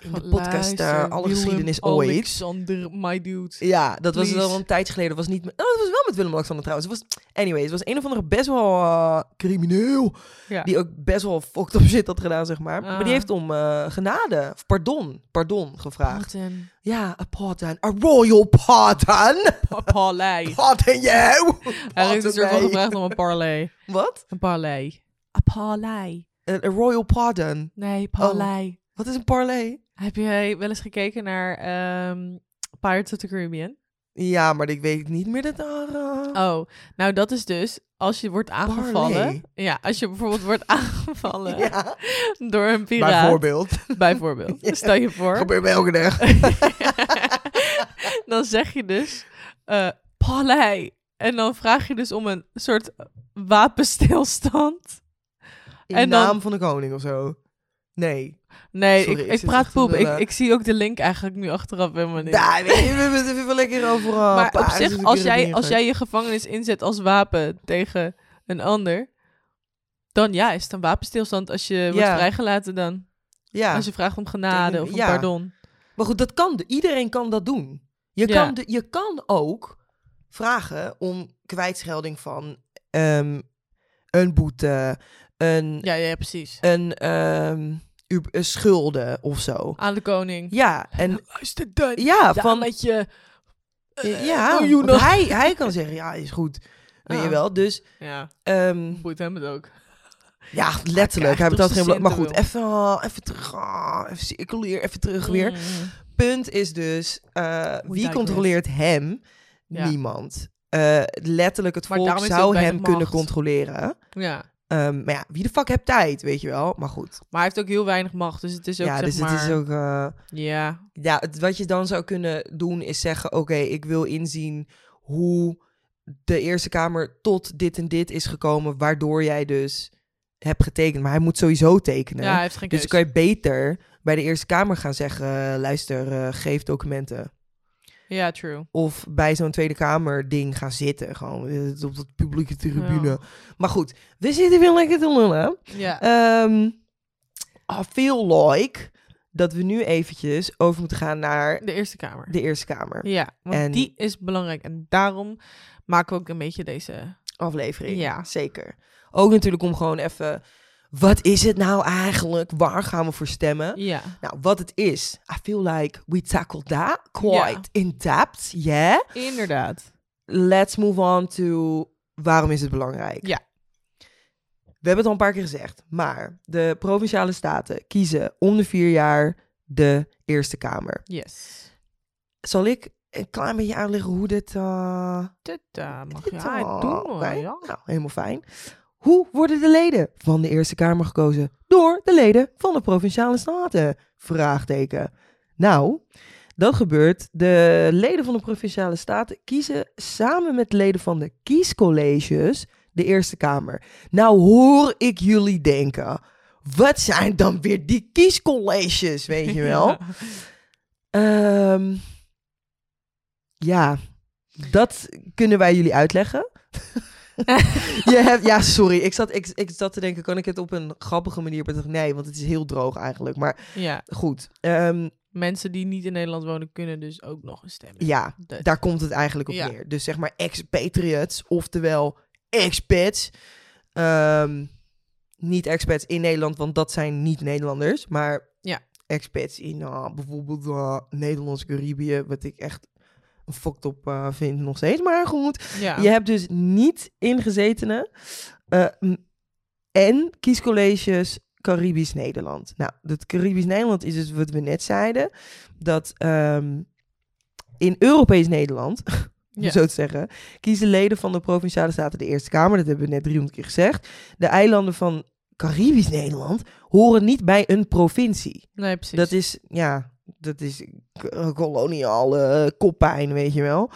in de
Gewoon
podcast eh,
luister,
Alle
Willem
geschiedenis ooit.
Alexander, my dude.
Ja, dat was
Please.
al een tijdje geleden. Dat was niet. met- Oh, dat was wel met Willem-Alexander trouwens. Het was, anyway, het was een of andere best wel eh, crimineel.
Ja.
Die ook best wel fucked up shit had gedaan, zeg maar. Maar
Ah.
die heeft om eh, genade, of pardon, pardon gevraagd.
Martin.
Ja, a pardon. A royal pardon.
Pa-
(laughs)
Parlay.
Pardon you.
Hij heeft dus ervoor
Parlay.
gevraagd om een parlay.
Wat?
Een parlay. Een parlay.
Een a royal pardon.
Nee, parlay.
Wat is een parlay?
Heb jij wel eens gekeken naar ehm, Pirates of the Caribbean?
Ja, maar ik weet niet meer dat daar... eh,
Oh, nou dat is dus als je wordt aangevallen.
Parlay.
Ja, als je bijvoorbeeld wordt (laughs) aangevallen
ja,
door een piraat.
bijvoorbeeld.
bijvoorbeeld.
(laughs) Ja.
Stel je voor.
Gebeurt bij elke dag.
(laughs) dan zeg je dus eh Palais. En dan vraag je dus om een soort wapenstilstand.
In
En dan-
naam van de koning of zo. Nee.
Nee,
Sorry,
ik,
ik
ik
zit
praat
echt te
poep. Ik,
lullen. Nou,
ik zie ook de link eigenlijk nu achteraf helemaal niet.
Daar weet je, we hebben het even (laughs) lekker over. eh,
maar op
Paars
zich,
en
als jij, als
Caribbean.
jij je gevangenis inzet als wapen tegen een ander, dan ja, is het een wapenstilstand als je wordt
Ja.
vrijgelaten dan.
Ja,
Als je vraagt om genade
Tegen-
of om
ja.
pardon.
maar goed, dat kan. de- Iedereen kan dat doen. Je,
Ja.
kan, de, je kan ook vragen om kwijtschelding van ehm, een boete, een,
Ja, ja, precies.
een, ehm, u- een schulden of zo.
Aan de koning.
Ja, en
Luister dan.
ja, van
met je... eh,
ja,
miljoen
want
nog.
hij, hij kan zeggen, ja, is goed. Weet je
Ja.
wel, dus
Ja,
ehm,
boeit hem het ook.
ja,
Ah,
letterlijk.
krijgt
Hij
op
betaalt
zijn
geen belang. Maar
centen
goed, even, ah, even terug, ah, even circuleer, even terug weer.
Mm.
Punt is dus, eh, wie
digress.
controleert hem?
Ja.
Niemand. Eh, letterlijk, het
Maar
volk
daarom is hij
zou
ook
hem
weinig
kunnen
macht.
controleren.
Ja.
Ehm, maar ja, wie de fuck hebt tijd, weet je wel? Maar goed,
Maar hij heeft ook heel weinig macht, dus het is ook
ja,
zeg
dus
maar...
het is ook... eh,
Ja,
ja, het- wat je dan zou kunnen doen is zeggen: Oké, ik wil inzien hoe de Eerste Kamer tot dit en dit is gekomen, waardoor jij dus hebt getekend. Maar hij moet sowieso tekenen.
ja, hij heeft geen
dus
keuze.
dan kan je beter bij de Eerste Kamer gaan zeggen: Luister, eh, geef documenten.
Ja, true.
Of bij zo'n Tweede Kamer ding gaan zitten. Gewoon eh, op dat publieke tribune.
Ja.
Maar goed, we zitten weer lekker te lullen.
Ja.
Ehm I feel like dat we nu eventjes over moeten gaan naar
De Eerste Kamer.
de Eerste Kamer.
Ja, want
En-
die is belangrijk. En daarom maken we ook een beetje deze...
aflevering.
Ja.
Zeker. Ook natuurlijk om gewoon even... Wat is het nou eigenlijk? Waar gaan we voor stemmen?
Ja.
Nou, wat het is. I feel like we tackled that quite in depth. Yeah.
Inderdaad.
Let's move on to... Waarom is het belangrijk?
Ja.
We hebben het al een paar keer gezegd. Maar de Provinciale Staten kiezen om de vier jaar de Eerste Kamer.
Yes.
Zal ik een klein beetje uitleggen hoe dit... eh,
Dit eh, mag
Dit
je
al,
ja, doen hoor,
oké.
ja.
Nou, helemaal fijn. Hoe worden de leden van de Eerste Kamer gekozen? Door de leden van de Provinciale Staten? Vraagteken. Nou, dat gebeurt. De leden van de Provinciale Staten kiezen samen met leden van de kiescolleges de Eerste Kamer. Nou hoor ik jullie denken, wat zijn dan weer die kiescolleges, weet je wel?
(laughs) Ja.
Ehm, ja, dat kunnen wij jullie uitleggen. je hebt, ja, sorry. Ik zat, ik, ik zat te denken, kan ik het op een grappige manier bedenken? Nee, want het is heel droog eigenlijk. Maar
Ja,
goed, ehm,
mensen die niet in Nederland wonen kunnen dus ook nog een stem.
ja,
Dat-
daar komt het eigenlijk op
Ja.
neer. Dus zeg maar expatriates, oftewel expats. Ehm, niet expats in Nederland, want dat zijn niet Nederlanders. Maar
Ja.
expats in ah, bijvoorbeeld ah, Nederlands-Caribië, wat ik echt een fucked op eh, vind nog steeds. Maar goed,
ja.
je hebt dus niet ingezetenen. eh, m- en kiescolleges Caribisch Nederland. Nou, dat Caribisch Nederland is dus wat we net zeiden. Dat ehm, in Europees Nederland, om
Ja.
zo te zeggen, kiezen leden van de Provinciale Staten de Eerste Kamer. Dat hebben we net 300 keer gezegd. De eilanden van Caribisch Nederland horen niet bij een provincie.
Nee, precies.
Dat is, ja, dat is k- koloniale eh, koppijn, weet je wel.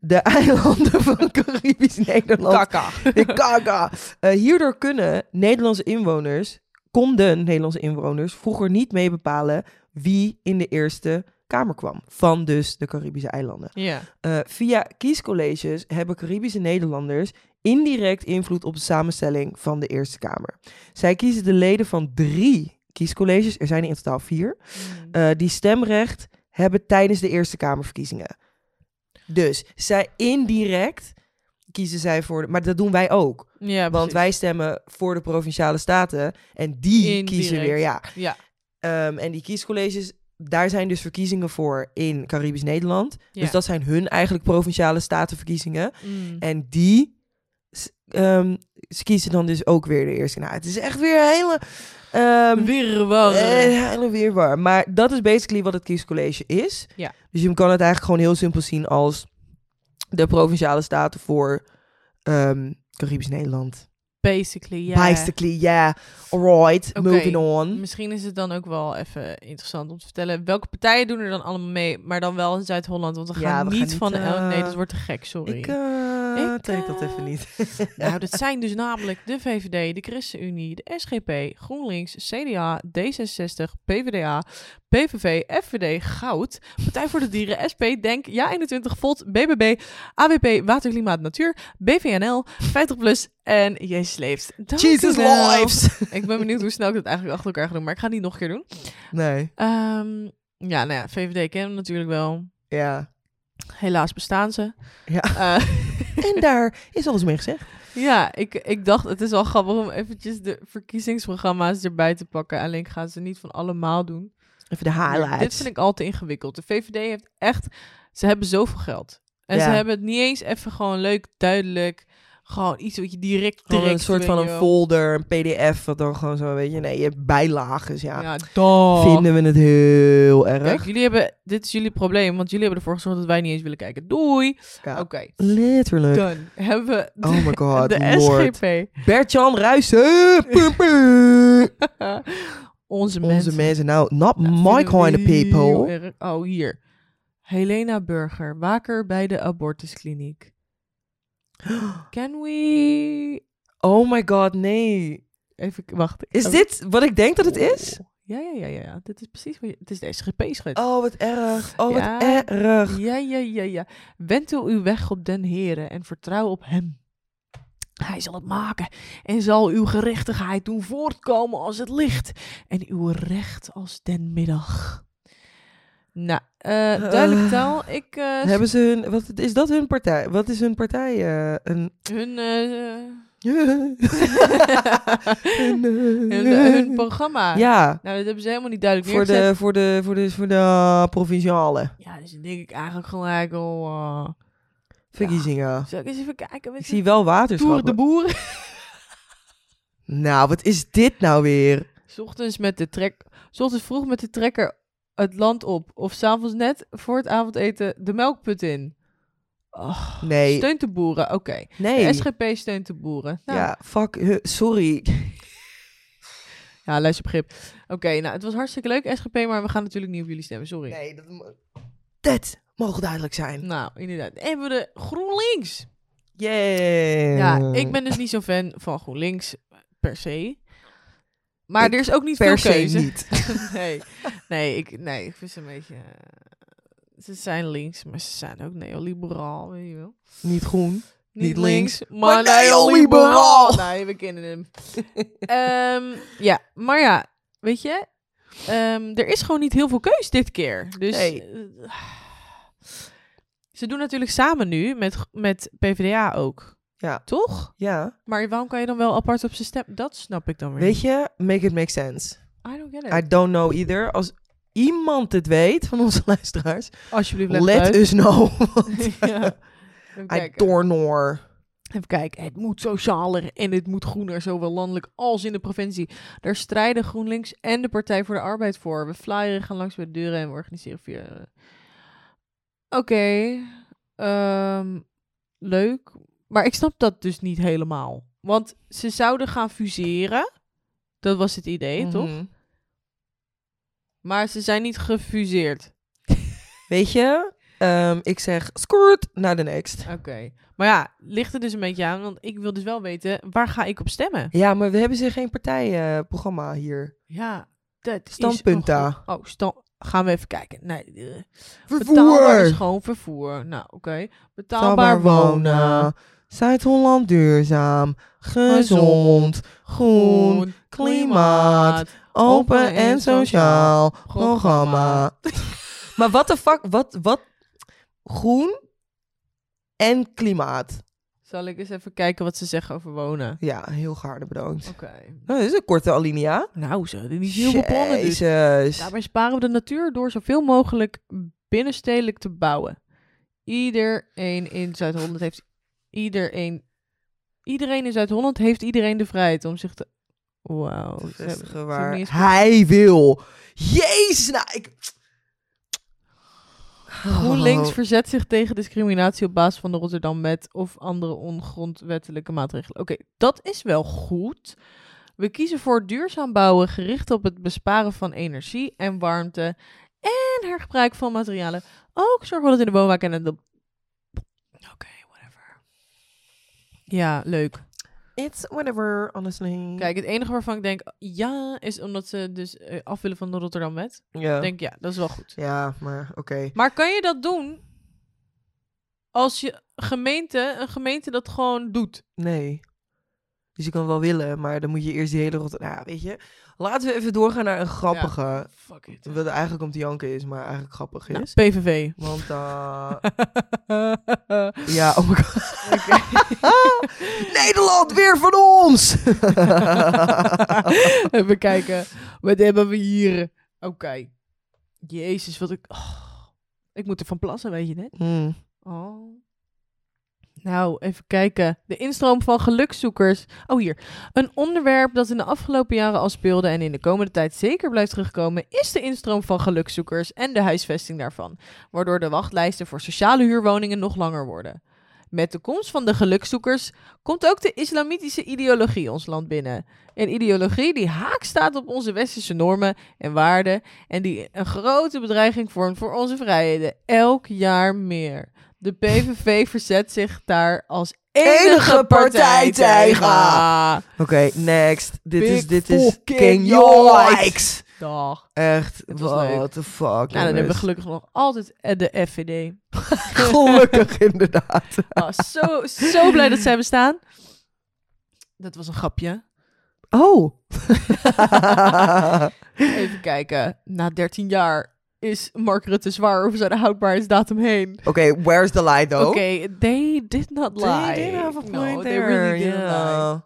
De (laughs) eilanden van Caribisch Nederland. (laughs)
Kaka.
De Kaka. Eh, hierdoor kunnen Nederlandse inwoners, konden Nederlandse inwoners vroeger niet mee bepalen wie in de Eerste Kamer kwam. Van dus de Caribische eilanden.
Ja,
Eh, via kiescolleges hebben Caribische Nederlanders indirect invloed op de samenstelling van de Eerste Kamer. Zij kiezen de leden van drie kiescolleges, er zijn er in totaal vier,
Mm.
eh, die stemrecht hebben tijdens de Eerste Kamerverkiezingen. Dus zij indirect kiezen zij voor, de- maar dat doen wij ook.
ja
want
precies.
wij stemmen voor de provinciale staten en die kiezen
Indirect.
weer, ja.
Ja,
Ehm, en die kiescolleges, daar zijn dus verkiezingen voor in Caribisch Nederland.
Ja.
Dus dat zijn hun eigenlijk provinciale statenverkiezingen.
Mm.
En die s- ehm, ze kiezen dan dus ook weer de eerste. Nou, het is echt weer een hele... ehm,
Wirwar.
eh, hele weerwaar. Maar dat is basically wat het kiescollege is.
Ja.
Dus je kan het eigenlijk gewoon heel simpel zien als de provinciale staten voor ehm, Caribisch Nederland.
Basically, ja.
Basically, yeah. Alright,
Oké.
moving on.
Misschien is het dan ook wel even interessant om te vertellen welke partijen doen er dan allemaal mee, maar dan wel in Zuid-Holland, want we gaan
Ja, we gaan
niet
niet,
van
eh,
elk. Nee, dat wordt te gek, sorry.
Ik, eh,
Ik,
trek dat
eh,
even niet.
Nou, dat zijn dus namelijk de VVD, de ChristenUnie, de SGP, GroenLinks, CDA, D66, PvdA, PVV, FVD, Goud, Partij voor de Dieren, SP, Denk, Ja21, Volt, BBB, AWP, Water, Klimaat, Natuur, BVNL, 50PLUS en Jezus Leeft. Dank u
Jesus
wel.
lives!
Ik ben benieuwd hoe snel ik dat eigenlijk achter elkaar ga doen, maar ik ga het niet nog een keer doen.
nee,
Ehm, ja, nou ja, VVD kennen we natuurlijk wel.
ja.
Helaas bestaan ze.
Ja.
Eh, (laughs)
En daar is alles mee gezegd.
Ja, ik, ik dacht, het is wel grappig om eventjes de verkiezingsprogramma's erbij te pakken. Alleen ik ga ze niet van allemaal doen.
Even de
Maar
highlights.
Dit vind ik al te ingewikkeld. De VVD heeft echt, ze hebben zoveel geld. En
Ja.
ze hebben het niet eens even gewoon leuk, duidelijk, gewoon iets wat je direct
Gewoon een
trekt,
soort van
weet
een
je wel.
folder, een pdf, wat dan gewoon zo, weet je, nee, je hebt bijlages, ja.
Ja, dag.
Vinden we het heel erg.
Kijk, jullie hebben, dit is jullie probleem, want jullie hebben ervoor gezorgd dat wij niet eens willen kijken. Doei.
Ja.
Oké,
Letterlijk.
dan hebben we de,
(laughs) oh my god,
de
lord.
SGP.
Bert-Jan (laughs) Ruysen. Pum, pum.
(laughs) Onze
Onze
mensen.
mensen, nou, not
Ja,
my
vinden we
kind of people.
heel erg- Oh, hier. Helena Burger, waker bij de abortuskliniek. Can we...
Oh my god, nee.
Even, k- wacht.
Is
Even-
dit wat ik denk dat het is?
Ja, ja, ja, ja. ja. Dit is precies wat je... Het is de SGP, schat.
Oh, wat erg. Oh, wat
Ja.
erg.
Ja, ja, ja, ja. Wendel uw weg op den heren en vertrouw op hem. Hij zal het maken en zal uw gerechtigheid doen voortkomen als het licht en uw recht als den middag. Nou, eh, duidelijk
Eh,
taal. Ik, eh,
Hebben ze hun, wat, is dat hun partij? Wat is hun partij? eh, (laughs) een...
hun, eh,
Een, eh,
(laughs) hun,
(laughs)
hun programma.
Ja,
Nou, dat hebben ze helemaal niet duidelijk
voor
neergezet.
de, voor de, voor de, voor de provinciale
Ja, dus dan denk ik eigenlijk gelijk al... eh,
verkiezingen.
zal ik eens even kijken?
Ik zie wel
Toer de
waterschappen.
Boer.
Nou, wat is dit nou weer?
's Ochtends, met de trek... 's Ochtends vroeg met de trekker het land op. Of s'avonds net voor het avondeten de melkput in. Oh,
Nee,
Steunt de boeren, oké.
nee.
De SGP steunt de boeren. Nou, ja.
Ja, fuck, huh, sorry.
ja, luister begrip. Oké, nou, het was hartstikke leuk, SGP, maar we gaan natuurlijk niet op jullie stemmen, sorry.
Nee, dat, mo- dat mogen duidelijk zijn.
Nou, inderdaad. Dan hebben we de GroenLinks.
Yeah.
Ja, ik ben dus niet zo'n fan van GroenLinks per se. Maar
Ik
er is ook niet
per
veel
se
keuze.
niet.
(laughs) nee. Nee, ik, nee, ik vind ze een beetje... eh, Ze zijn links, maar ze zijn ook neoliberaal, weet je wel.
Niet groen.
Niet,
Niet
links,
maar
maar neoliberaal.
neoliberaal.
Nee, we kennen
(laughs)
hem. Ehm, ja, maar ja, weet je... ehm, er is gewoon niet heel veel keus dit keer. Dus...
Nee.
eh, ze doen natuurlijk samen nu met, met PvdA ook.
Ja.
Toch?
Ja.
Maar waarom kan je dan wel apart op zijn stem? Dat snap ik dan weer.
Weet je, make it make sense.
niet. I don't get it.
I don't know either. Als iemand het weet van onze (laughs) luisteraars,
Alsjeblieft, let,
let
het
us
(laughs)
know.
uit.
(laughs)
ja. Even
I
kijken.
don't know.
Even kijken. Het moet socialer en het moet groener, zowel landelijk als in de provincie. Daar strijden GroenLinks en de Partij voor de Arbeid voor. We flyeren, gaan langs bij de deuren en we organiseren via... Oké. ehm, leuk. Maar ik snap dat dus niet helemaal. Want ze zouden gaan fuseren. Dat was het idee, toch?
Mhm.
Maar ze zijn niet gefuseerd.
Weet je, ehm, ik zeg squirt naar de next.
Oké. Maar ja, ligt er dus een beetje aan. Want ik wil dus wel weten, waar ga ik op stemmen?
Ja, maar we hebben ze geen partijprogramma eh, hier.
Ja, dat
Standpunt
is... nog
daar.
goed. Oh, stand... Gaan we even kijken. Nee, eh, betaalbaar is
Vervoer!
gewoon vervoer. Nou, oké. Betaalbaar
Betaalbaar
wonen.
wonen. Zuid-Holland duurzaam, gezond, groen,
Groen.
klimaat, open en sociaal programma. (laughs) Maar wat de fuck, wat, wat? Groen en klimaat.
Zal ik eens even kijken wat ze zeggen over wonen?
Ja, heel gaarde bedankt.
Oké.
Nou, dit is een korte alinea.
Nou, zo. Dit is heel veel plannen dus.
Jezus.
Daarbij sparen we de natuur door zoveel mogelijk binnenstedelijk te bouwen. Iedereen in Zuid-Holland heeft iedereen. Iedereen in Zuid-Holland heeft iedereen de vrijheid om zich te. Wauw.
Te
ze hebben-
vestigen
ze
Oh, waar
hebben niet eens-
hij wil. Jezus, nou, ik... Oh.
GroenLinks verzet zich tegen discriminatie op basis van de Rotterdam-wet of andere ongrondwettelijke maatregelen. Oké, dat is wel goed. We kiezen voor duurzaam bouwen gericht op het besparen van energie en warmte en hergebruik van materialen. Ook zorgen we dat in de woonwijk en in de... Oké, whatever. Ja, leuk.
It's whatever, honestly.
Kijk, het enige waarvan ik denk ja, is omdat ze dus eh, af willen van de Rotterdam-wet.
ja.
Ik denk ja, dat is wel goed.
ja, maar oké.
Maar kan je dat doen als je gemeente, een gemeente dat gewoon doet?
Nee. Dus je kan wel willen, maar dan moet je eerst die hele rot... Nou, weet je. Laten we even doorgaan naar een grappige.
Fuck it.
Wat eigenlijk om te janken is, maar eigenlijk grappig
Nou,
is.
PVV.
Want,
(laughs)
eh, (laughs) ja, oh my god. (laughs) Nederland weer van ons! (laughs)
Even kijken. Wat hebben we hier? Oké. Jezus, wat ik... Oh. ik moet er van plassen, weet je net.
Hmm.
Oh. Nou, even kijken. De instroom van gelukszoekers. Oh, hier. Een onderwerp dat in de afgelopen jaren al speelde en in de komende tijd zeker blijft terugkomen, is de instroom van gelukszoekers en de huisvesting daarvan. Waardoor de wachtlijsten voor sociale huurwoningen nog langer worden. Met de komst van de gelukszoekers komt ook de islamitische ideologie ons land binnen. Een ideologie die haak staat op onze westerse normen en waarden en die een grote bedreiging vormt voor onze vrijheden. Elk jaar meer. De PVV verzet zich daar als enige,
Enige partij
partij tegen.
tegen. Oké, next. Dit
Big
is, dit is
fucking
King
yikes.
Yikes.
Dag.
Echt,
Het was leuk.
what the fuck.
Nou, dan hebben we gelukkig nog altijd eh, de FVD.
Gelukkig
(laughs)
inderdaad.
Ah, zo, zo blij dat zij bestaan. Dat was een grapje.
(laughs)
(laughs)
Oh. (laughs)
Even kijken. Na 13 jaar is Mark Rutte zwaar over zijn houdbaarheidsdatum heen.
Oké, where's the lie though?
Oké, they did not lie.
Oh. They did have a
No,
point
they
there,
really didn't lie.
yeah.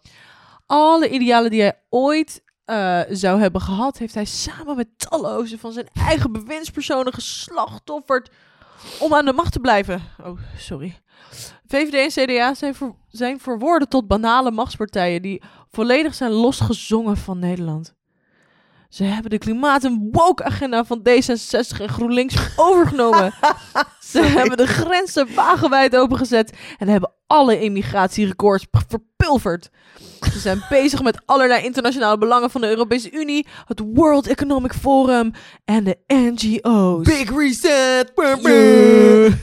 alle idealen die hij ooit eh, zou hebben gehad, heeft hij samen met talloze van zijn eigen bewindspersonen geslachtofferd om aan de macht te blijven. Oh, sorry. VVD en CDA zijn, ver- zijn verworden tot banale machtspartijen die volledig zijn losgezongen van Nederland. Ze hebben de klimaat- en woke-agenda van D66 en GroenLinks overgenomen. Ze hebben de grenzen wagenwijd opengezet en hebben alle immigratierecords p- verpulverd. Ze zijn bezig met allerlei internationale belangen van de Europese Unie, het World Economic Forum en de NGO's.
Big reset. Brr, brr.
Yeah.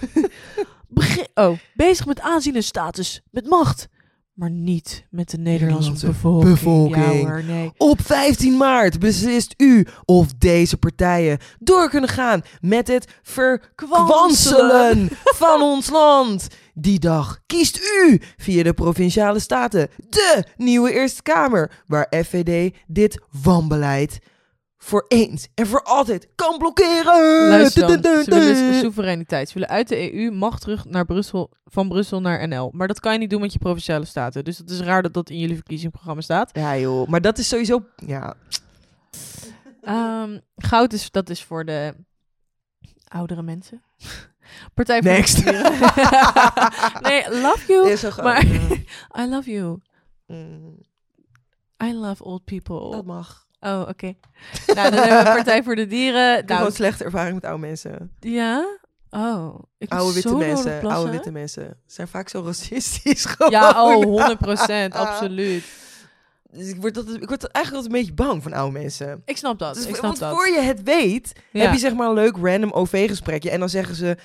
Begin- oh, bezig met aanzien en status, met macht. Maar niet met de Nederlandse,
Nederlandse
bevolking.
bevolking.
Ja hoor, nee.
Op 15 maart beslist u of deze partijen door kunnen gaan met het verkwanselen van ons land. Die dag kiest u via de provinciale staten de nieuwe Eerste Kamer, waar FVD dit wanbeleid voor eens en voor altijd kan blokkeren.
Luister dan,
Dun, dun,
ze willen
dun.
s- soevereiniteit. Ze willen uit de EU macht terug naar Brussel, van Brussel naar NL. Maar dat kan je niet doen met je provinciale staten. Dus het is raar dat dat in jullie verkiezingsprogramma staat.
Ja joh, maar dat is sowieso... Ja,
Ehm, goud is, dat is voor de oudere mensen. (laughs) Partij voor de
Next.
Dieren. (laughs) nee, love (laughs) you.
is zo groot.
Maar-
Ja. (laughs)
I love you.
Mm,
I love old people.
Dat mag.
Oh, oké. nou, dan hebben we Partij voor de Dieren.
(laughs) Ik heb
Nou,
gewoon slechte ervaring met oude mensen.
ja? Oh, ik moet
Oude witte
zo nodig
mensen,
plassen.
oude witte mensen zijn vaak zo racistisch (laughs) gewoon.
Ja, oh, 100
Ah.
absoluut.
Dus ik word, altijd, ik word eigenlijk altijd een beetje bang van oude mensen.
Ik snap dat,
Dus-
ik snap
want
dat.
voor je het weet,
Ja.
heb je zeg maar een leuk random OV-gesprekje. En dan zeggen ze...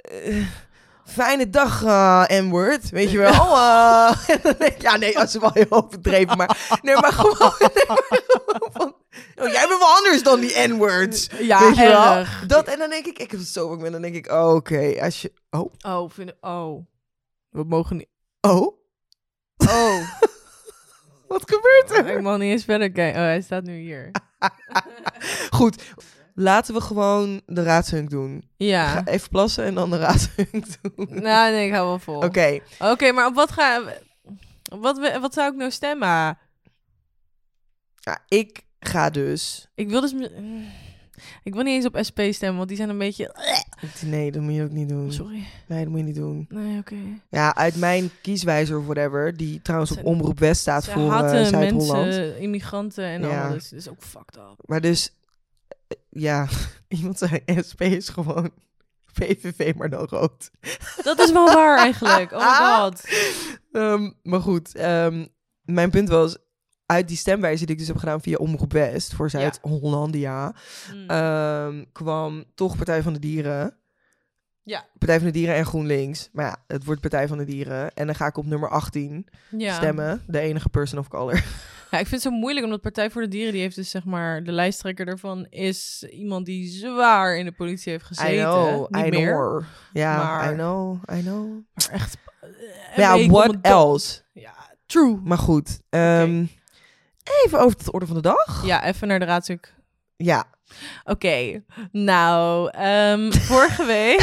eh, Fijne dag, eh, N-word. Weet je wel? eh. (laughs) En dan denk ik, ja, nee, dat is wel heel overdreven. Maar, nee, maar gewoon... nee, maar gewoon van, oh, jij bent wel anders dan die N-words.
Ja,
weet je wel?
erg.
Dat, en dan denk ik, ik heb het zo vaak met. Dan denk ik, oké, als je... Oh,
Oh, vind, oh. We mogen niet...
oh, (laughs)
Oh,
wat gebeurt er? (laughs)
ik mag niet eens verder kijken. Oh, hij staat nu hier.
Goed, laten we gewoon de raadshunk doen.
Ja.
(laughs) Ga even plassen en dan de raadshunk doen.
Nou, nee, ik hou wel vol.
Oké,
Oké, maar op wat gaan we... op Wat, we- wat zou ik nou stemmen?
ja, ik ga dus...
Ik wil Nou, dus... m- Ik wil niet eens op SP stemmen, want die zijn een beetje...
Nee, dat moet je ook niet doen.
Sorry.
Nee, dat moet je niet doen.
Nee, oké.
Ja, uit mijn kieswijzer of whatever, die trouwens op
Ze-
Omroep West staat
Ze
voor eh,
haten
Zuid-Holland.
mensen, eh, immigranten en
Ja.
alles. Dus ook fucked up.
Maar dus, eh, ja, (laughs) iemand zei SP is gewoon (laughs) PVV, maar dan rood. Ah.
Dat is wel waar eigenlijk. Oh
(laughs)
my god.
Ehm, maar goed, ehm, mijn punt was... Uit die stemwijzer die ik dus heb gedaan via Omroep West voor
Ja.
Zuid-Hollandia...
Mm.
ehm, kwam toch Partij van de Dieren.
Ja.
Partij van de Dieren en GroenLinks. Maar ja, het wordt Partij van de Dieren. En dan ga ik op nummer 18
Hm. ja.
stemmen. De enige person of color.
Ja, ik vind het zo moeilijk, omdat Partij voor de Dieren, die heeft dus zeg maar, de lijsttrekker daarvan is iemand die zwaar in de politie heeft gezeten.
I know,
Niet
I
meer.
know. Ja,
maar-
I know, I know.
Maar echt. eh,
Maar
weet
ja,
om
what
het dop.
else?
Ja, true.
Maar goed. ehm, Even over tot de orde van de dag.
Ja, even naar de raadzoek. (laughs)
Ja.
Oké, nou, ehm,
(laughs)
vorige week...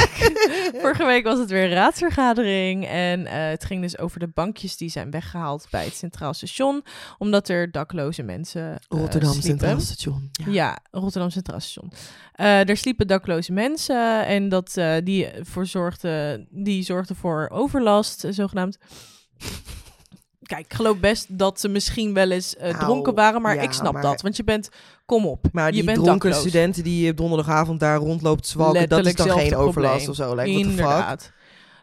Vorige week was het weer een raadsvergadering en eh, het ging dus over de bankjes die zijn weggehaald bij het Centraal Station, omdat er dakloze mensen eh,
Rotterdam
sliepen.
Centraal Station.
Ja. Rotterdam Centraal Station. Eh daar sliepen dakloze mensen en dat, eh, die, voor zorgde, die zorgden voor overlast, eh, zogenaamd. Kijk, ik geloof best dat ze misschien wel eens eh,
Nou,
dronken waren, maar
ja,
ik snap
maar-
dat. Want je bent, kom op,
Maar
je
die
bent
dronken
dakloos.
studenten die op donderdagavond daar rondloopt te zwalken,
Letterlijk
dat is dan geen
zelfde
overlast
probleem.
of zo. Like, what the fuck?
Inderdaad.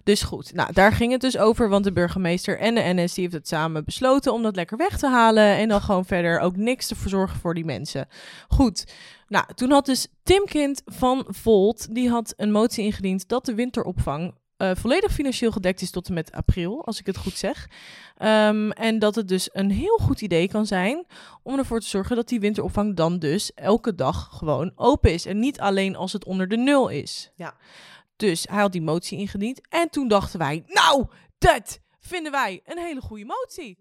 Dus goed, nou, daar ging het dus over, want de burgemeester en de NS die heeft het samen besloten om dat lekker weg te halen en dan gewoon verder ook niks te verzorgen voor die mensen. Goed, nou, toen had dus Tim Kind van Volt, die had een motie ingediend dat de winteropvang eh, volledig financieel gedekt is tot en met april, als ik het goed zeg. Ehm, en dat het dus een heel goed idee kan zijn om ervoor te zorgen dat die winteropvang dan dus elke dag gewoon open is. En niet alleen als het onder de nul is.
Ja.
Dus hij had die motie ingediend. En toen dachten wij, nou, dat vinden wij een hele goede motie.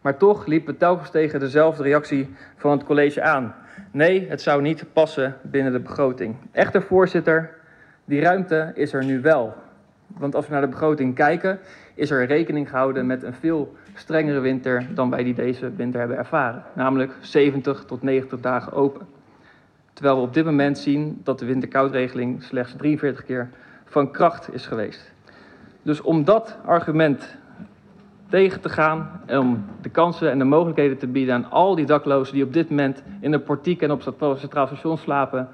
Maar toch liep we telkens tegen dezelfde reactie van het college aan. Nee, het zou niet passen binnen de begroting. Echter, voorzitter, die ruimte is er nu wel. Want als we naar de begroting kijken, is er rekening gehouden met een veel strengere winter dan wij die deze winter hebben ervaren. Namelijk 70 tot 90 dagen open. Terwijl we op dit moment zien dat de winterkoudregeling slechts 43 keer van kracht is geweest. Dus om dat argument tegen te gaan. en Om de kansen en de mogelijkheden te bieden aan al die daklozen die op dit moment in de portiek en op het centraal station slapen.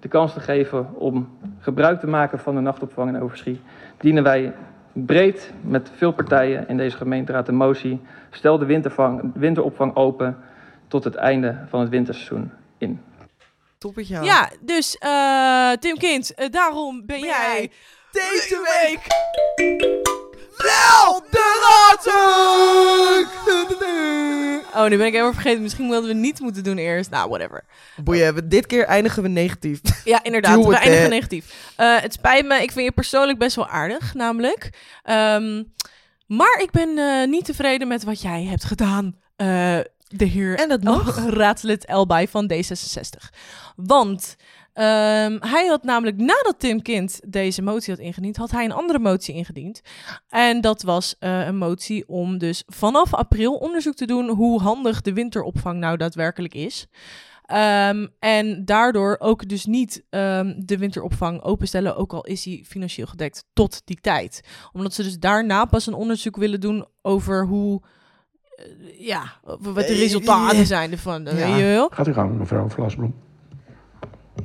De kans te geven om gebruik te maken van de nachtopvang in Overschie. Dienen wij breed met veel partijen in deze gemeenteraad een motie. Stel de wintervang- winteropvang open tot het einde van het winterseizoen in.
Toppetje.
Ja,
aan.
dus eh, Tim Kind, eh, daarom ben
Ben
jij
jij
deze
deze
week
Wel de
Oh, nu ben ik helemaal vergeten. Misschien hadden we niet moeten doen eerst. Nou, whatever.
Boeien, we- dit keer eindigen we (laughs) negatief.
Ja, inderdaat.
Doe
We
het,
eindigen
hè.
negatief. Eh, het spijt me. Ik vind je persoonlijk best wel aardig, namelijk. Ehm, maar ik ben eh, niet tevreden met wat jij hebt gedaan. eh, de heer
En dat mag.
El- (laughs) raadslid Elbay van D66. Want ehm, hij had namelijk nadat Tim Kind deze motie had ingediend, had hij een andere motie ingediend. En dat was eh, een motie om dus vanaf april onderzoek te doen hoe handig de winteropvang nou daadwerkelijk is. Ehm, en daardoor ook dus niet ehm, de winteropvang openstellen, ook al is die financieel gedekt tot die tijd. Omdat ze dus daarna pas een onderzoek willen doen over hoe, eh, ja, wat de
Eh,
resultaten
eh,
zijn ervan. eh,
ja.
weet je wel.
Gaat u gang, mevrouw Vlasblom.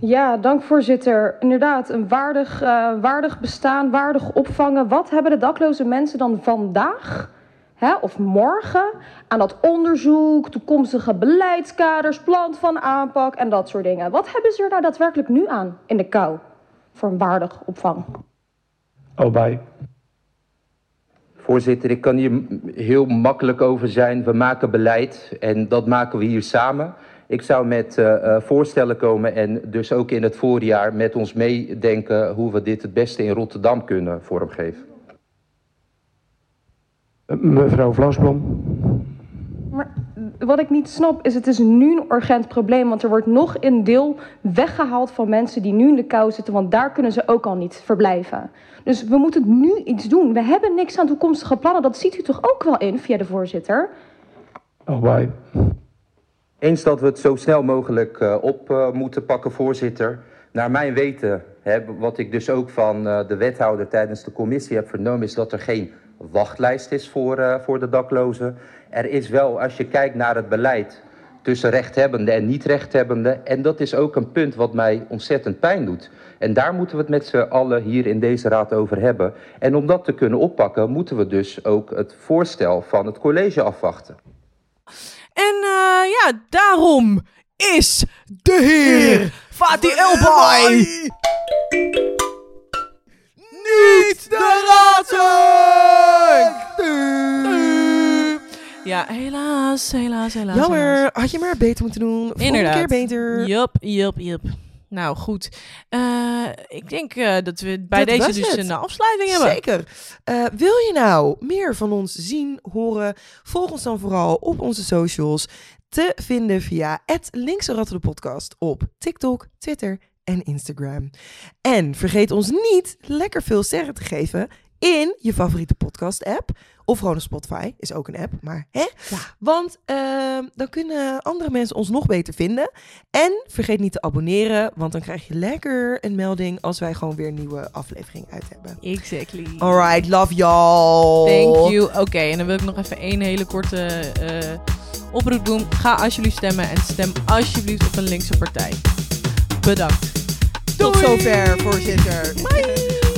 Ja, dank voorzitter. Inderdaad, een waardig, eh, waardig bestaan, waardig opvangen. Wat hebben de dakloze mensen dan vandaag hè, of morgen aan dat onderzoek, toekomstige beleidskaders, plan van aanpak en dat soort dingen? Wat hebben ze er nou daadwerkelijk nu aan in de kou voor een waardig opvang?
Oh, bij.
Voorzitter, ik kan hier m- heel makkelijk over zijn. We maken beleid en dat maken we hier samen. Ik zou met eh, eh, voorstellen komen en dus ook in het voorjaar met ons meedenken hoe we dit het beste in Rotterdam kunnen vormgeven.
Eh, Mevrouw Vlasblom.
Maar wat ik niet snap is, het is nu een urgent probleem. Want er wordt nog een deel weggehaald van mensen die nu in de kou zitten. Want daar kunnen ze ook al niet verblijven. Dus we moeten nu iets doen. We hebben niks aan toekomstige plannen. Dat ziet u toch ook wel in via de voorzitter?
Oh, bij.
Eens dat we het zo snel mogelijk eh, op eh, moeten pakken, voorzitter. Naar mijn weten, hè, wat ik dus ook van eh, de wethouder tijdens de commissie heb vernomen, is dat er geen wachtlijst is voor, eh, voor de daklozen. Er is wel, als je kijkt naar het beleid tussen rechthebbenden en niet-rechthebbenden. En dat is ook een punt wat mij ontzettend pijn doet. En daar moeten we het met z'n allen hier in deze raad over hebben. En om dat te kunnen oppakken, moeten we dus ook het voorstel van het college afwachten.
En eh, ja, daarom is de heer Fatih Elbay
Niet de ratten!
Ja, helaas, helaas, helaas. helaas.
Jammer, had je maar beter moeten doen. Volgende
Inderdaad.
keer beter.
Yup, yup, yup. Nou goed, Eh, ik denk eh, dat we bij
Dit
deze
was
dus
het.
een afsluiting hebben.
Zeker. Eh, wil je nou meer van ons zien, horen? Volg ons dan vooral op onze socials. Te vinden via de podcast op TikTok, Twitter en Instagram. En vergeet ons niet lekker veel sterren te geven in je favoriete podcast app. Of gewoon op Spotify, is ook een app. Maar hè? Want ehm, dan kunnen andere mensen ons nog beter vinden. En vergeet niet te abonneren, want dan krijg je lekker een melding als wij gewoon weer een nieuwe aflevering uit hebben.
Exactly.
Alright, love y'all.
Thank you. Oké, en dan wil ik nog even één hele korte eh, oproep doen. Ga alsjeblieft stemmen en stem alsjeblieft op een linkse partij. Bedankt.
Tot
Doei.
(laughs) zover, voorzitter. Bye.